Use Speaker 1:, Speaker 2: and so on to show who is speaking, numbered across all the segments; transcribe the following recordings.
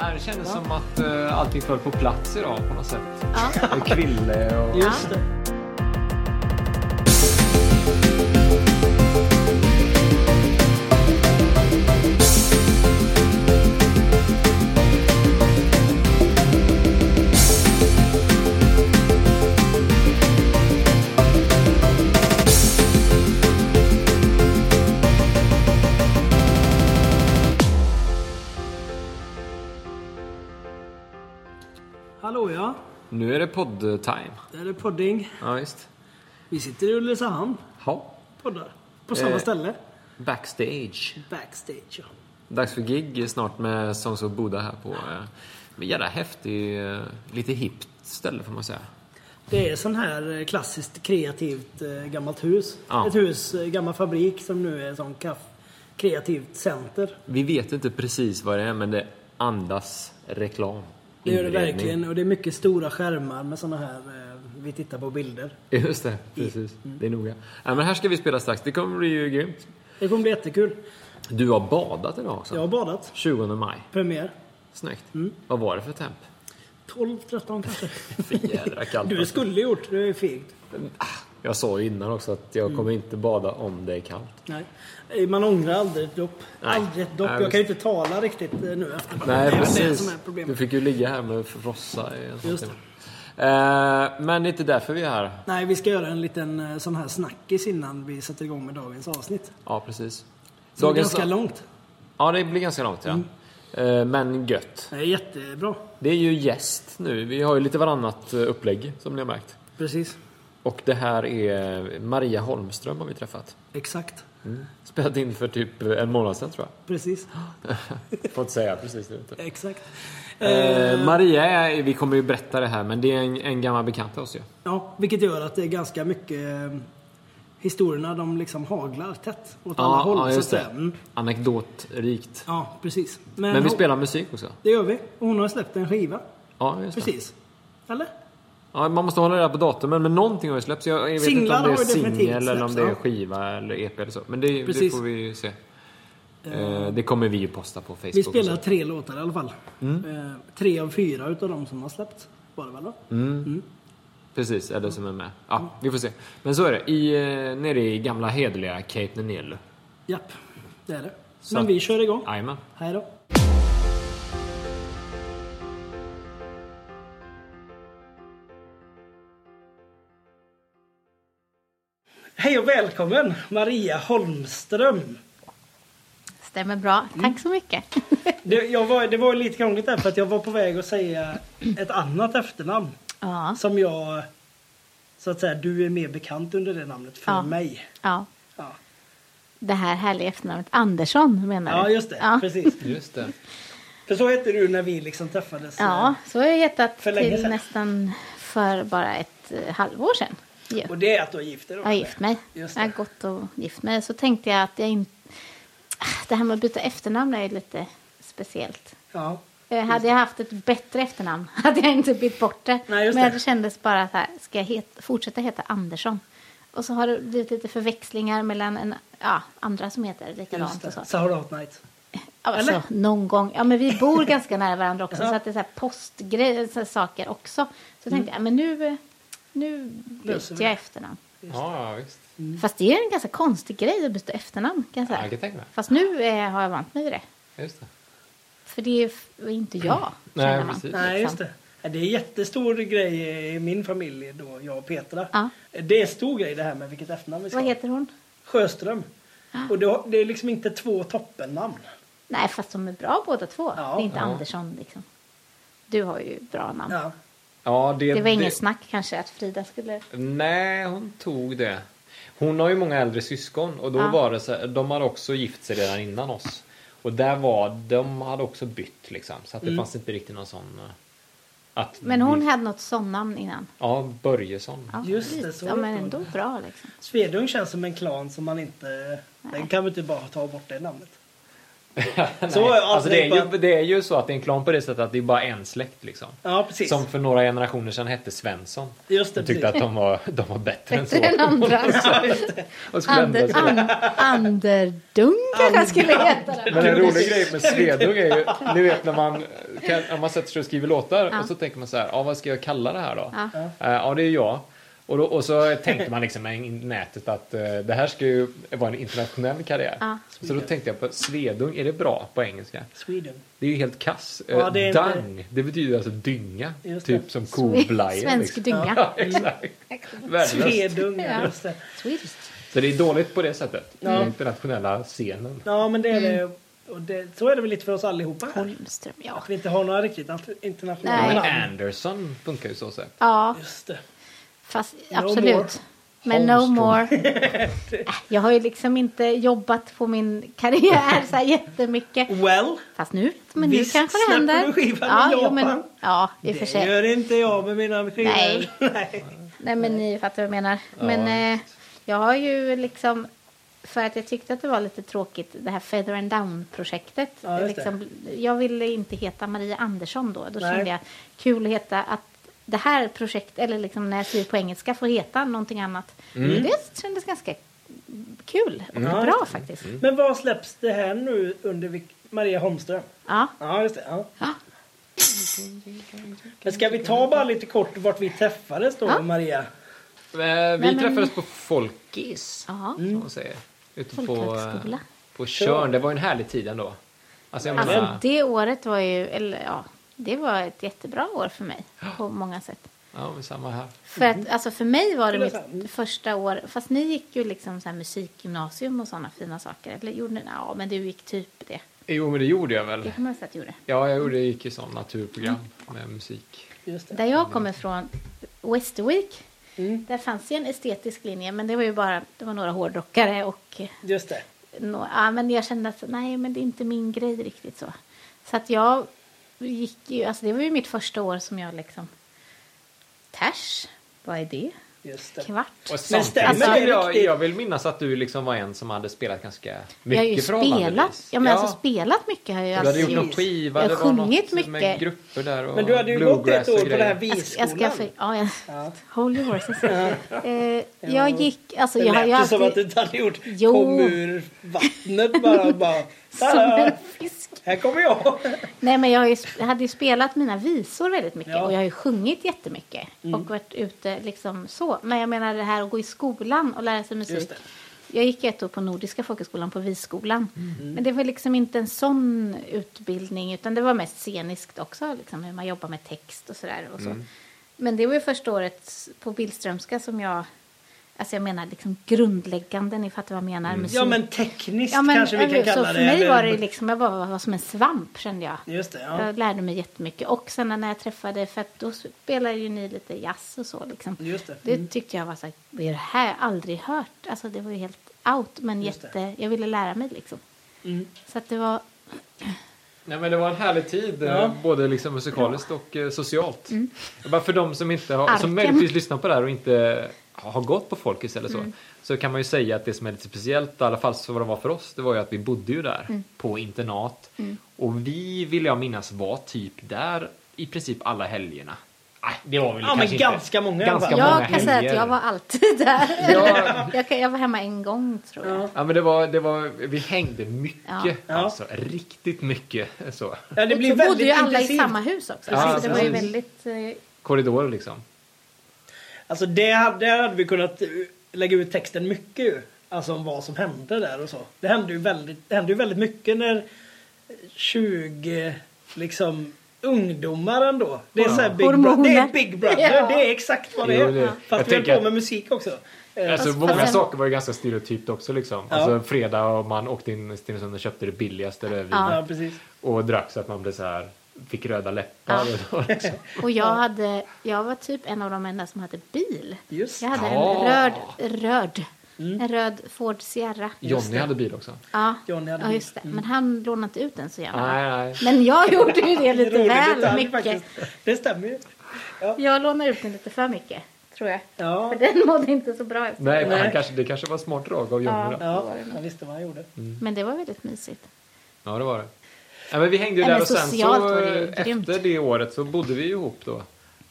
Speaker 1: Ja, Äh, Det kändes som att eh, allting föll på plats idag på något sätt.
Speaker 2: Ja.
Speaker 3: Och kville och...
Speaker 2: Just
Speaker 3: det.
Speaker 2: Hallå ja,
Speaker 1: Nu är det podd-time.
Speaker 2: det här är podding.
Speaker 1: Ja, visst.
Speaker 2: Vi sitter i Ulricehamn
Speaker 1: Ha.
Speaker 2: poddar. På samma
Speaker 1: Eh.
Speaker 2: ställe.
Speaker 1: Backstage.
Speaker 2: Backstage ja.
Speaker 1: Dags för gig snart med Songs of Buddha här på... eh, men Jävla häftig, eh, lite hippt ställe får man säga.
Speaker 2: Det är sån här eh, klassiskt kreativt eh, gammalt hus.
Speaker 1: Ja.
Speaker 2: Ett hus, eh, gammal fabrik som nu är sån kaff kreativt center.
Speaker 1: Vi vet inte precis vad det är, men det andas reklam.
Speaker 2: Det gör det
Speaker 1: Inredning.
Speaker 2: verkligen och det är mycket stora skärmar med såna här, eh, vi tittar på bilder.
Speaker 1: Just det, precis.
Speaker 2: Mm.
Speaker 1: Det är noga. Ja, men här ska vi spela strax. Det kommer bli ju grymt.
Speaker 2: Det kommer bli jättekul.
Speaker 1: Du har badat idag också.
Speaker 2: Jag har badat.
Speaker 1: 20 maj.
Speaker 2: Premiär.
Speaker 1: Snyggt.
Speaker 2: Mm.
Speaker 1: Vad var det för temp?
Speaker 2: 12-13 kanske.
Speaker 1: För jädra kallt.
Speaker 2: Du skulle gjort, du är fegt.
Speaker 1: Jag sa ju innan också att jag kommer inte bada om det är kallt.
Speaker 2: Nej. Eh, Man ångrar aldrig ett dopp.
Speaker 1: Nej.
Speaker 2: Aldrig ett dopp.
Speaker 1: Nej,
Speaker 2: jag kan ju inte tala riktigt eh, nu efter
Speaker 1: Nej,
Speaker 2: det. är Det som
Speaker 1: precis.
Speaker 2: är
Speaker 1: Du
Speaker 2: problemet.
Speaker 1: fick ju ligga här med frossa i en sån
Speaker 2: Just
Speaker 1: timme. Eh, Men det är inte därför vi är här.
Speaker 2: Nej, vi ska göra en liten eh, sån här snackis innan vi sätter igång med dagens avsnitt.
Speaker 1: Ja, precis.
Speaker 2: Det är ganska långt. Mm.
Speaker 1: Ja, det blir ganska långt ja. Eh, Men gött.
Speaker 2: Det är jättebra.
Speaker 1: Det är ju gäst nu. Vi har ju lite varannat eh, upplägg som ni har märkt.
Speaker 2: Precis.
Speaker 1: Och det här är Maria Holmström har vi träffat.
Speaker 2: Exakt.
Speaker 1: Spelat in för typ en månad sedan tror jag.
Speaker 2: Precis.
Speaker 1: Får inte säga precis nu. Inte.
Speaker 2: Exakt.
Speaker 1: Eh, Maria, är- vi kommer ju berätta det här, men det är en, en gammal bekant till oss ju.
Speaker 2: Ja, vilket gör att det är ganska mycket eh, historierna de liksom haglar tätt åt alla
Speaker 1: Ja,
Speaker 2: håll.
Speaker 1: ja,
Speaker 2: så
Speaker 1: just
Speaker 2: att säga.
Speaker 1: det.
Speaker 2: Mm.
Speaker 1: Anekdotrikt.
Speaker 2: Ja, precis.
Speaker 1: Men vi
Speaker 2: ho-
Speaker 1: spelar musik också.
Speaker 2: Det gör vi. Och hon har släppt en skiva.
Speaker 1: Ja, just det.
Speaker 2: Precis. Eller?
Speaker 1: Ja, man måste hålla reda på datumen, men någonting har ju släppts. Jag vet
Speaker 2: Singlar
Speaker 1: inte om det
Speaker 2: har
Speaker 1: är
Speaker 2: ju definitivt
Speaker 1: singel eller om
Speaker 2: släppts,
Speaker 1: det är
Speaker 2: ja.
Speaker 1: skiva eller EP eller så. Men det, det
Speaker 2: Precis.
Speaker 1: får vi ju se. Eh, det kommer vi ju posta på Mm. Facebook.
Speaker 2: Vi
Speaker 1: och
Speaker 2: spelar
Speaker 1: så.
Speaker 2: tre låtar i alla fall. Eh, tre av fyra utav de som har släppts. Var det väl då?
Speaker 1: Mm. Precis, eller som är med.
Speaker 2: Mm.
Speaker 1: Ja, vi får se. Men så är det. I, eh, nere i gamla hederliga Cape Nenelu.
Speaker 2: Japp, det är det.
Speaker 1: Så
Speaker 2: Men
Speaker 1: att-
Speaker 2: vi kör igång.
Speaker 1: Jajamän.
Speaker 2: Hej då. Hej och välkommen Maria Holmström.
Speaker 4: Stämmer bra.
Speaker 2: Mm.
Speaker 4: Tack så mycket.
Speaker 2: Det, jag var, det var lite krångligt där för att jag var på väg att säga ett annat efternamn.
Speaker 4: Ja.
Speaker 2: Som jag, så att säga, du är mer bekant under det namnet för
Speaker 4: Ja.
Speaker 2: mig.
Speaker 4: ja.
Speaker 2: Ja,
Speaker 4: Det här härliga efternamnet Andersson menar du?
Speaker 2: ja just det.
Speaker 4: Ja,
Speaker 2: Precis.
Speaker 1: Just det.
Speaker 2: För så hette du när vi liksom träffades.
Speaker 4: ja så har jag hetat
Speaker 2: För länge
Speaker 4: till
Speaker 2: sedan.
Speaker 4: nästan för bara ett eh, halvår sedan. ju.
Speaker 2: Och det är att du är gift dig då?
Speaker 4: Jag har gift mig.
Speaker 2: Just
Speaker 4: Jag har
Speaker 2: det.
Speaker 4: gått och gift mig. Så tänkte jag att jag inte... Det här med att byta efternamn är ju lite speciellt.
Speaker 2: Ja.
Speaker 4: Eh, Hade jag haft ett bättre efternamn hade jag inte bytt bort det.
Speaker 2: Nej, just
Speaker 4: Men
Speaker 2: det.
Speaker 4: det kändes bara så här, ska jag het, fortsätta heta Andersson? Och så har det blivit lite förväxlingar mellan en, ja, andra som heter
Speaker 2: Just
Speaker 4: likadant och så.
Speaker 2: det. Saharat Night.
Speaker 4: Ja,
Speaker 2: Eller?
Speaker 4: Alltså, någon gång. Ja, men vi bor ganska nära varandra också,
Speaker 2: Ja. Mm.
Speaker 4: så att det är så här postgrejer, så här saker också. Så tänkte jag, men nu, eh, nu
Speaker 2: Löser
Speaker 4: byter
Speaker 2: vi det.
Speaker 4: jag
Speaker 2: Mm.
Speaker 4: efternamn.
Speaker 1: Ja, visst.
Speaker 4: Fast det är en ganska konstig grej att byta efternamn, kan jag
Speaker 1: Ja, jag
Speaker 4: säga.
Speaker 1: kan tänka mig.
Speaker 4: Fast nu eh, har jag vant mig vid det.
Speaker 1: Just det.
Speaker 4: För det är f- inte jag,
Speaker 1: Nej,
Speaker 4: känner man.
Speaker 1: precis.
Speaker 2: Nej, just
Speaker 4: liksom.
Speaker 2: det. Ja, Det är en jättestor grej i min familj då, jag och Petra.
Speaker 4: Ja.
Speaker 2: Det är en stor grej det här med vilket efternamn vi ska
Speaker 4: Vad
Speaker 2: ha.
Speaker 4: heter hon?
Speaker 2: Sjöström. Och det har- det är liksom inte två toppennamn.
Speaker 4: Nej, fast de är bra båda två.
Speaker 2: Ja.
Speaker 4: det är inte
Speaker 1: Ja.
Speaker 4: Andersson liksom. Du har ju bra namn.
Speaker 2: Ja.
Speaker 1: Ja, det,
Speaker 4: Det var inget snack kanske att Frida skulle...
Speaker 1: Nej, hon tog det. Hon har ju många äldre syskon och då
Speaker 4: Ja.
Speaker 1: var det så här, de hade också gift sig redan innan oss. Och där var, de hade också bytt liksom. Så att det fanns inte riktigt någon sån... eh, Att
Speaker 4: Mm. Men hon
Speaker 1: bli-
Speaker 4: hade något sånnamn innan.
Speaker 1: Ja, Börjesson.
Speaker 4: Ja,
Speaker 2: Mm. Just det,
Speaker 4: lite.
Speaker 2: så
Speaker 4: ja, men
Speaker 2: heter
Speaker 4: ändå
Speaker 2: hon.
Speaker 4: bra liksom.
Speaker 2: Svedung känns som en klan som man inte... Den kan vi inte bara ta bort det namnet. Så har jag
Speaker 1: alltså det,
Speaker 2: aldrig
Speaker 1: är ju, det är ju så att det är en klan på det sättet att det är bara en släkt liksom.
Speaker 2: Ja, precis.
Speaker 1: Som för några generationer sedan hette Svensson.
Speaker 2: Just det,
Speaker 1: De tyckte
Speaker 2: precis.
Speaker 1: att de var, de var bättre än så.
Speaker 4: Bättre än andra.
Speaker 1: Och skulle ändra
Speaker 4: Ander,
Speaker 1: sig.
Speaker 4: an, Anderdung kanske han skulle heta. det.
Speaker 1: Men en rolig grej med Svedung är ju, ni vet när man, kan, när man sätter sig och skriver låtar
Speaker 4: Ja.
Speaker 1: och så tänker man så här, ja vad ska jag kalla det här då?
Speaker 4: Ja.
Speaker 1: Eh, Ja, det är jag. Och, då, och så tänkte man liksom i nätet att eh, det här ska ju vara en internationell karriär.
Speaker 4: Ja.
Speaker 1: Så då tänkte jag på Svedung, är det bra på engelska?
Speaker 2: Sweden.
Speaker 1: Det är ju helt kass. Eh,
Speaker 2: Ja, det är inte-
Speaker 1: Dung, det betyder alltså dynga.
Speaker 2: Just det.
Speaker 1: Typ som koblajer.
Speaker 4: Svensk
Speaker 1: liksom.
Speaker 4: dynga.
Speaker 1: Exakt. Värdelöst.
Speaker 2: Svedung, ja.
Speaker 4: Ja.
Speaker 2: just det.
Speaker 4: Swedish.
Speaker 1: Så det är dåligt på det sättet.
Speaker 2: Ja.
Speaker 1: Den internationella scenen.
Speaker 2: Ja, men det är
Speaker 4: Mm.
Speaker 2: det. Och det. Så är det väl lite för oss allihopa här.
Speaker 4: Holmström, ja.
Speaker 2: Att vi inte har några riktigt internationella
Speaker 4: Nej.
Speaker 1: Men
Speaker 2: namn.
Speaker 1: Anderson funkar ju så säkert.
Speaker 4: Ja,
Speaker 2: Just det.
Speaker 4: fast
Speaker 2: more.
Speaker 4: absolut. Men no
Speaker 1: Holmström.
Speaker 4: more. Äh, Jag har ju liksom inte jobbat på min karriär så här jättemycket.
Speaker 2: Well,
Speaker 4: Fast nu, men
Speaker 2: Visst
Speaker 4: nu kanske det
Speaker 2: släpper
Speaker 4: händer.
Speaker 2: du skivan i
Speaker 4: jo, men,
Speaker 2: Japan.
Speaker 4: ja, i och för
Speaker 2: det
Speaker 4: sig.
Speaker 2: gör inte jag med mina skivor.
Speaker 4: Nej.
Speaker 2: Nej.
Speaker 4: Nej men ni fattar vad jag menar.
Speaker 1: Ja.
Speaker 4: Men eh, jag har ju liksom för att jag tyckte att det var lite tråkigt det här Feather and Down-projektet.
Speaker 2: Ja, just det.
Speaker 4: liksom, jag ville inte heta Maria Andersson då. Då
Speaker 2: Nej.
Speaker 4: kände jag kul att heta att det här projektet, eller liksom när jag skriver på engelska, får heta någonting annat. Det kändes ganska kul och
Speaker 2: Mm. Ja, Mm.
Speaker 4: bra faktiskt.
Speaker 2: Men vad släpps det här nu under vilk- Maria Holmström?
Speaker 4: Ja.
Speaker 2: Ja, just det. Ja.
Speaker 4: ja.
Speaker 2: Men ska vi ta bara lite kort vart vi träffades då,
Speaker 4: Ja.
Speaker 2: Maria?
Speaker 1: Eh, Vi
Speaker 4: men-
Speaker 1: träffades på Folkis.
Speaker 4: Ja.
Speaker 1: Som man säger. Ute på,
Speaker 4: Folkhögskola.
Speaker 1: eh, på Tjörn. Det var ju en härlig tid ändå. Alltså, jag
Speaker 4: Alltså
Speaker 1: menar,
Speaker 4: det året var ju, eller ja, det var ett jättebra år för mig på många sätt.
Speaker 1: ja, men samma här.
Speaker 4: För, att, alltså för mig var det
Speaker 2: Eller så här, mm.
Speaker 4: mitt första år. Fast ni gick ju liksom så här musikgymnasium och sådana fina saker. Eller gjorde ni? Ja, men du gick typ det.
Speaker 1: Jo, men det gjorde jag
Speaker 4: Det
Speaker 1: väl.
Speaker 4: kan man säga att du gjorde.
Speaker 1: Ja, jag gjorde, gick ju sån naturprogram med musik.
Speaker 2: Just det.
Speaker 4: Där jag kommer från, Westerwick,
Speaker 2: Mm.
Speaker 4: där fanns ju en estetisk linje. Men det var ju bara, det var några hårdrockare och eh,
Speaker 2: Just det.
Speaker 4: nå- ja, men jag kände att nej, men det är inte min grej riktigt så. Så att jag gick ju, alltså det var ju mitt första år som jag liksom, ters, vad är det?
Speaker 2: Just det.
Speaker 4: Kvart?
Speaker 1: Och
Speaker 2: Men
Speaker 1: samtidigt
Speaker 2: stämmer
Speaker 1: alltså,
Speaker 2: det
Speaker 1: jag,
Speaker 2: riktigt?
Speaker 1: jag vill minnas att du liksom var en som hade spelat ganska
Speaker 4: Jag har ju
Speaker 1: mycket
Speaker 4: spelat,
Speaker 1: förhållandevis.
Speaker 4: ja, men alltså spelat mycket har jag ju
Speaker 1: Du hade
Speaker 4: alltid
Speaker 1: gjort
Speaker 2: Precis.
Speaker 1: någon skiva.
Speaker 4: Jag har
Speaker 1: det var något
Speaker 4: sjungit mycket.
Speaker 1: Med grupper där och
Speaker 2: Men du hade ju gått ett
Speaker 1: bluegrass och
Speaker 2: år på den här
Speaker 1: grejer.
Speaker 4: Jag ska, jag ska
Speaker 2: viskolan.
Speaker 4: få, ja, jag,
Speaker 2: Ja.
Speaker 4: Hold your horses. eh, jag gick, alltså
Speaker 2: Det
Speaker 4: jag har
Speaker 2: lät
Speaker 4: ju
Speaker 2: ju som att du
Speaker 4: alltid
Speaker 2: inte hade gjort
Speaker 4: Jo.
Speaker 2: kom ur vattnet bara. och bara
Speaker 4: som
Speaker 2: "Tada,
Speaker 4: en fisk.
Speaker 2: här kommer jag.
Speaker 4: Nej men jag, har ju, sp- jag hade ju spelat mina visor väldigt mycket
Speaker 2: Ja. Mm.
Speaker 4: och jag har ju sjungit jättemycket och varit ute liksom så. Men jag menar det här att gå i skolan och lära sig
Speaker 2: Just
Speaker 4: musik.
Speaker 2: det.
Speaker 4: Jag gick ett år på Nordiska folkhögskolan på Viskolan.
Speaker 2: Mm.
Speaker 4: Men det var liksom inte en sån utbildning utan det var mest sceniskt också. Liksom, hur man jobbar med text och sådär. Och så.
Speaker 2: Mm.
Speaker 4: Men det var ju första året på Billströmska som jag, alltså jag menar liksom grundläggande, ni fattar vad jag menar. Musik.
Speaker 2: Mm. Ja men tekniskt
Speaker 4: Ja, men,
Speaker 2: kanske vi kan
Speaker 4: eller-
Speaker 2: kalla
Speaker 4: så
Speaker 2: det.
Speaker 4: för mig
Speaker 2: eller-
Speaker 4: var det liksom, jag bara var som en svamp kände jag.
Speaker 2: Just det, ja.
Speaker 4: Jag lärde mig jättemycket. Och sen när jag träffade, för att då spelade ju ni lite jazz och så liksom.
Speaker 2: Just det. Mm.
Speaker 4: Det tyckte jag var så här, vad är det här? Jag har aldrig hört. Alltså det var ju helt out, men
Speaker 2: Just
Speaker 4: jätte, jag ville lära mig liksom.
Speaker 2: Mm.
Speaker 4: Så att det var,
Speaker 1: Nej, men det var en härlig tid, eh,
Speaker 2: Ja. Mm.
Speaker 1: både liksom musikaliskt och eh, socialt. Bara för de som, inte har,
Speaker 4: Arken.
Speaker 1: som möjligtvis lyssnar på det här och inte har gått på Folkis eller
Speaker 2: Mm.
Speaker 1: så, så kan man ju säga att det som är lite speciellt, i alla fall så vad det var för oss, det var ju att vi bodde ju där
Speaker 2: Mm.
Speaker 1: på internat. Och vi, vill jag minnas, var typ där i princip alla helgerna. Nej, det var väl
Speaker 2: Ja, men
Speaker 1: kanske inte.
Speaker 2: ganska många i alla
Speaker 1: ganska
Speaker 2: fall.
Speaker 1: många
Speaker 4: jag kan säga att
Speaker 1: helger.
Speaker 4: jag var alltid där.
Speaker 1: Ja.
Speaker 4: jag, kan- jag var hemma en gång tror jag.
Speaker 2: Ja.
Speaker 1: Ja, men det var, det var, vi hängde mycket,
Speaker 2: Ja.
Speaker 1: alltså riktigt mycket så.
Speaker 2: Ja, det
Speaker 4: Och
Speaker 2: blir
Speaker 4: så bodde ju
Speaker 2: väldigt
Speaker 4: alla i
Speaker 2: intensivt.
Speaker 4: samma hus också.
Speaker 1: Ja,
Speaker 4: så det var ju
Speaker 1: precis.
Speaker 4: väldigt, eh,
Speaker 1: Korridorer liksom.
Speaker 2: Alltså det hade, där hade vi kunnat eh, lägga ut texten mycket ju. Alltså om vad som hände där och så. Det hände ju väldigt, det hände ju väldigt mycket när 20 liksom ungdomar ändå. Det är, så här big bro-
Speaker 4: Hormoner.
Speaker 2: det är Big Brother,
Speaker 4: Ja.
Speaker 2: det är exakt vad det
Speaker 1: Jo,
Speaker 2: är.
Speaker 1: det- jag
Speaker 2: Fast vi höll
Speaker 1: tänker
Speaker 2: på
Speaker 1: att-
Speaker 2: med musik också. Eh,
Speaker 1: Alltså,
Speaker 4: Fast-
Speaker 1: många
Speaker 4: fast-
Speaker 1: saker var ju ganska stereotypt också liksom.
Speaker 2: Ja.
Speaker 1: Alltså fredag och man åkte in i Stenungsund och köpte det billigaste rödvinet.
Speaker 2: Ja, precis.
Speaker 1: Och drack så att man blev så här, fick röda läppar.
Speaker 4: Ja.
Speaker 1: Och så, liksom.
Speaker 4: Och jag, hade, jag var typ en av de enda som hade bil.
Speaker 2: Just
Speaker 4: Jag hade en
Speaker 1: Ja.
Speaker 4: röd, röd,
Speaker 2: Mm.
Speaker 4: en röd Ford Sierra.
Speaker 1: Johnny hade bil också.
Speaker 4: Ja,
Speaker 2: Johnny hade
Speaker 4: ja just det. Men han lånade inte ut den så gärna.
Speaker 1: mm. Nej, nej.
Speaker 4: Men jag gjorde ju det lite
Speaker 2: Rolig
Speaker 4: väl
Speaker 2: detalj
Speaker 4: mycket.
Speaker 2: faktiskt. Det stämmer ju.
Speaker 4: Jag lånade ut den lite för mycket, tror jag.
Speaker 2: Ja,
Speaker 4: För den mådde inte så bra. efter
Speaker 1: Nej,
Speaker 4: det.
Speaker 1: men
Speaker 2: Nej.
Speaker 1: han kanske, det kanske var ett smart drag av Johnny
Speaker 4: Ja.
Speaker 1: då.
Speaker 2: ja han visste vad han gjorde.
Speaker 4: Men det var väldigt mysigt.
Speaker 1: Ja, det var det. Ja, men vi hängde ju
Speaker 4: Nej,
Speaker 1: där
Speaker 4: men
Speaker 1: och sen
Speaker 4: socialt
Speaker 1: så
Speaker 4: var det ju
Speaker 1: eh,
Speaker 4: grymt.
Speaker 1: efter det året så bodde vi ju ihop då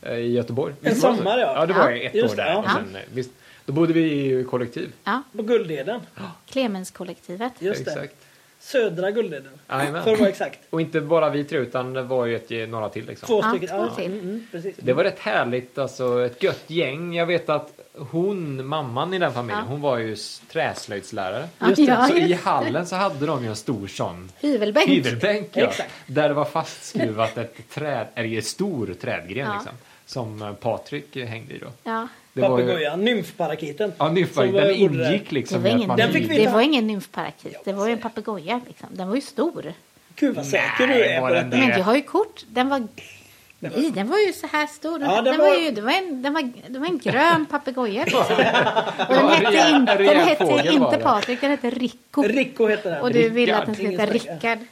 Speaker 1: eh, i Göteborg. Visst var det så?
Speaker 2: sommar, ja.
Speaker 1: Ja, det var
Speaker 4: Ja,
Speaker 1: ju ett
Speaker 2: just
Speaker 1: år
Speaker 2: det,
Speaker 1: där.
Speaker 2: ja.
Speaker 1: Och sen, eh, visst, då bodde vi i kollektiv.
Speaker 4: Ja,
Speaker 2: På Guldheden.
Speaker 4: Clemenskollektivet.
Speaker 2: Just det.
Speaker 1: Exakt.
Speaker 2: Södra Guldheden.
Speaker 1: Jajamän.
Speaker 2: För att vara exakt.
Speaker 1: Och inte bara vi tre utan det var ju ett, några till liksom.
Speaker 2: Två
Speaker 4: Ja,
Speaker 2: stycken.
Speaker 4: två till.
Speaker 2: Mm, mm, precis.
Speaker 1: Det var rätt härligt, alltså ett gött gäng. Jag vet att hon, mamman i den familjen,
Speaker 4: Ja.
Speaker 1: hon var ju s- träslöjdslärare.
Speaker 4: Ja, Just det. ja,
Speaker 1: så i
Speaker 4: just det.
Speaker 1: hallen så hade de ju en stor sån
Speaker 4: Hyvelbänk.
Speaker 1: hyvelbänk ja,
Speaker 2: Exakt.
Speaker 1: där det var fastskruvat ett träd, eller en stor trädgren
Speaker 4: Ja.
Speaker 1: liksom, som eh, Patrik eh, hängde i då.
Speaker 4: Ja.
Speaker 1: Det var ju,
Speaker 2: Papegojan, nymfparakiten.
Speaker 1: ja, nymfbank,
Speaker 2: Som eh, var-
Speaker 1: den
Speaker 2: bodde där.
Speaker 1: ingick
Speaker 4: Det
Speaker 1: liksom
Speaker 4: var,
Speaker 1: i att
Speaker 4: ingen,
Speaker 1: man
Speaker 2: Den fick vi
Speaker 4: det
Speaker 2: ta-
Speaker 4: var ingen nymfparakit, det var ju en papegoja. Liksom. Den var ju stor.
Speaker 2: Gud vad säker
Speaker 1: Nej,
Speaker 2: du är
Speaker 1: var
Speaker 2: på
Speaker 1: den
Speaker 2: detta.
Speaker 1: där?
Speaker 4: Men jag har ju kort. Den var... Nej, den var ju så här stor.
Speaker 2: Ja, den
Speaker 4: den, var...
Speaker 2: var-
Speaker 4: ju, det, var en, den var, det var en grön papegoja. Liksom. Och den
Speaker 1: Ja, en
Speaker 4: hette,
Speaker 1: rejäl-
Speaker 4: inte,
Speaker 1: en
Speaker 4: den
Speaker 1: rejäl
Speaker 4: hette
Speaker 1: fågel var
Speaker 4: inte
Speaker 1: det.
Speaker 4: Patrik, den hette Rico.
Speaker 2: Rico heter den.
Speaker 4: Och du ville att den
Speaker 1: Rickard.
Speaker 4: skulle heta
Speaker 2: Ingen stackare.
Speaker 4: Rickard.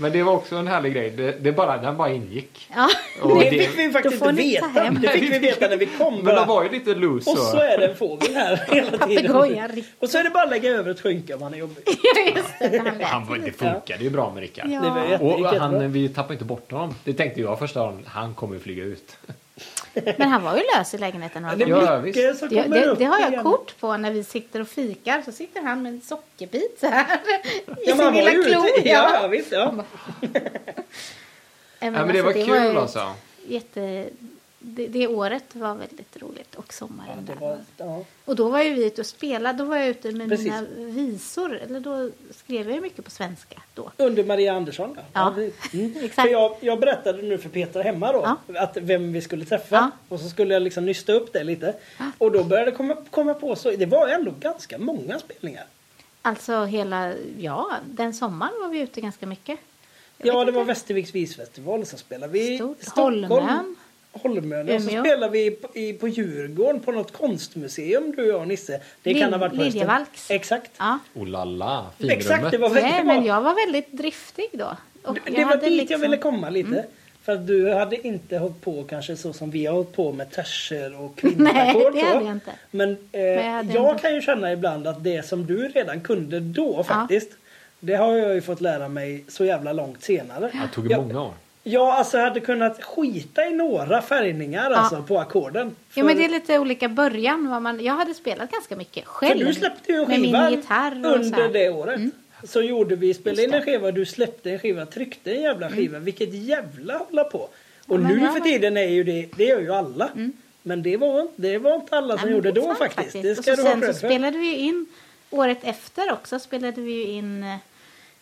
Speaker 1: Men det var också en härlig grej, det, det bara, den bara ingick.
Speaker 4: Ja.
Speaker 1: Och
Speaker 2: Det
Speaker 1: det-
Speaker 2: fick vi ju faktiskt
Speaker 4: Då får
Speaker 2: inte
Speaker 4: ni ta
Speaker 2: veta.
Speaker 4: hem.
Speaker 2: Det fick vi veta när vi kom.
Speaker 1: Men
Speaker 2: Bara,
Speaker 1: den var ju lite loose.
Speaker 2: och så är det en fågel här hela
Speaker 4: Papegoja,
Speaker 2: tiden.
Speaker 4: Rico.
Speaker 2: Och så är det bara att lägga över ett skynke om han är jobbig.
Speaker 4: Just det, den lät.
Speaker 1: Han, var- det funkade ju bra med Rickard.
Speaker 4: Ja.
Speaker 2: Det var jätte,
Speaker 1: Och
Speaker 2: gick jättebra.
Speaker 1: han, vi tappade inte bort honom. Det tänkte jag första dagen. Han kommer ju flyga ut.
Speaker 4: Men han var ju lös i lägenheten. några
Speaker 2: Det
Speaker 4: gånger.
Speaker 1: Ja,
Speaker 2: är
Speaker 1: visst.
Speaker 2: mycket som
Speaker 4: Det,
Speaker 2: kommer
Speaker 4: det,
Speaker 2: upp
Speaker 4: det har jag
Speaker 2: igen.
Speaker 4: kort på när vi sitter och fikar. Så sitter han med en sockerbit så här. I
Speaker 2: Ja,
Speaker 4: sin
Speaker 2: man var
Speaker 4: lilla
Speaker 2: ju
Speaker 4: klo.
Speaker 2: ute. Ja,
Speaker 4: Ja.
Speaker 2: visst. Ja.
Speaker 4: Nej,
Speaker 1: Nej, men det var
Speaker 4: alltså,
Speaker 1: kul
Speaker 4: ju
Speaker 1: alltså.
Speaker 4: Jätte... Det, det året var väldigt roligt och
Speaker 2: Ja,
Speaker 4: sommaren
Speaker 2: det
Speaker 4: där.
Speaker 2: var, ja.
Speaker 4: Och då var ju vi ute och spelade. Då var jag ute med
Speaker 2: Precis.
Speaker 4: mina visor. Eller då skrev jag ju mycket på svenska då.
Speaker 2: Under Maria Andersson. Ja.
Speaker 4: Ja.
Speaker 2: precis. Mm.
Speaker 4: Exakt.
Speaker 2: För jag, jag berättade nu för Peter hemma då att vem vi skulle träffa.
Speaker 4: Ja.
Speaker 2: Och så skulle jag liksom nysta upp det lite. Och då började det komma, komma på så. Det var ändå ganska många spelningar.
Speaker 4: Alltså hela, ja, den sommaren var vi ute ganska mycket. Jag
Speaker 2: Ja,
Speaker 4: vet
Speaker 2: det var
Speaker 4: inte.
Speaker 2: Västerviks visfestival och så spelade vi i
Speaker 4: Stort.
Speaker 2: Stockholm.
Speaker 4: Holmön.
Speaker 2: Holmön. Och så
Speaker 4: Umeå.
Speaker 2: spelade vi på, i, på Djurgården på något konstmuseum du och jag och Nisse. Det kan
Speaker 4: Lil-
Speaker 2: ha varit på hösten.
Speaker 4: Liljevalchs.
Speaker 2: Exakt.
Speaker 4: Ja.
Speaker 1: Oh la la, finrummet.
Speaker 2: Exakt, det var väldigt
Speaker 4: Nej,
Speaker 2: bra.
Speaker 4: men jag var väldigt driftig då. Och
Speaker 2: Det-
Speaker 4: jag
Speaker 2: det var
Speaker 4: hade liksom- Mm.
Speaker 2: dit jag ville komma lite. För att du hade inte hållit på kanske så som vi har hållit på med terser och
Speaker 4: Nej,
Speaker 2: kvinnoackord.
Speaker 4: det
Speaker 2: så.
Speaker 4: hade jag inte.
Speaker 2: Men, eh,
Speaker 4: jag
Speaker 2: jag,
Speaker 4: hade inte.
Speaker 2: kan ju känna ibland att det som du redan kunde då faktiskt. Det har jag ju fått lära mig så jävla långt senare.
Speaker 1: Det tog ju
Speaker 2: jag,
Speaker 1: många år.
Speaker 2: jag alltså hade kunnat skita i några färgningar alltså på ackorden.
Speaker 4: Jo, men det är lite olika början. Vad man, jag hade spelat ganska mycket
Speaker 2: för
Speaker 4: själv.
Speaker 2: du släppte ju en
Speaker 4: Med
Speaker 2: skiva
Speaker 4: min gitarr och så
Speaker 2: under
Speaker 4: här. Mm.
Speaker 2: det året. Så gjorde vi, spelade in en skiva, du släppte en skiva, tryckte en jävla skiva. Vilket jävla hålla på. Och
Speaker 4: Mm. men
Speaker 2: nu
Speaker 4: jag
Speaker 2: för
Speaker 4: var-
Speaker 2: tiden är ju det, det gör ju alla. Men det var, inte- det var inte alla
Speaker 4: Nej,
Speaker 2: som
Speaker 4: men
Speaker 2: gjorde då
Speaker 4: fortfarande
Speaker 2: faktiskt. Det ska
Speaker 4: och
Speaker 2: du
Speaker 4: så
Speaker 2: ha
Speaker 4: sen
Speaker 2: cred
Speaker 4: så
Speaker 2: för.
Speaker 4: spelade vi ju in, året efter också, spelade vi ju in eh,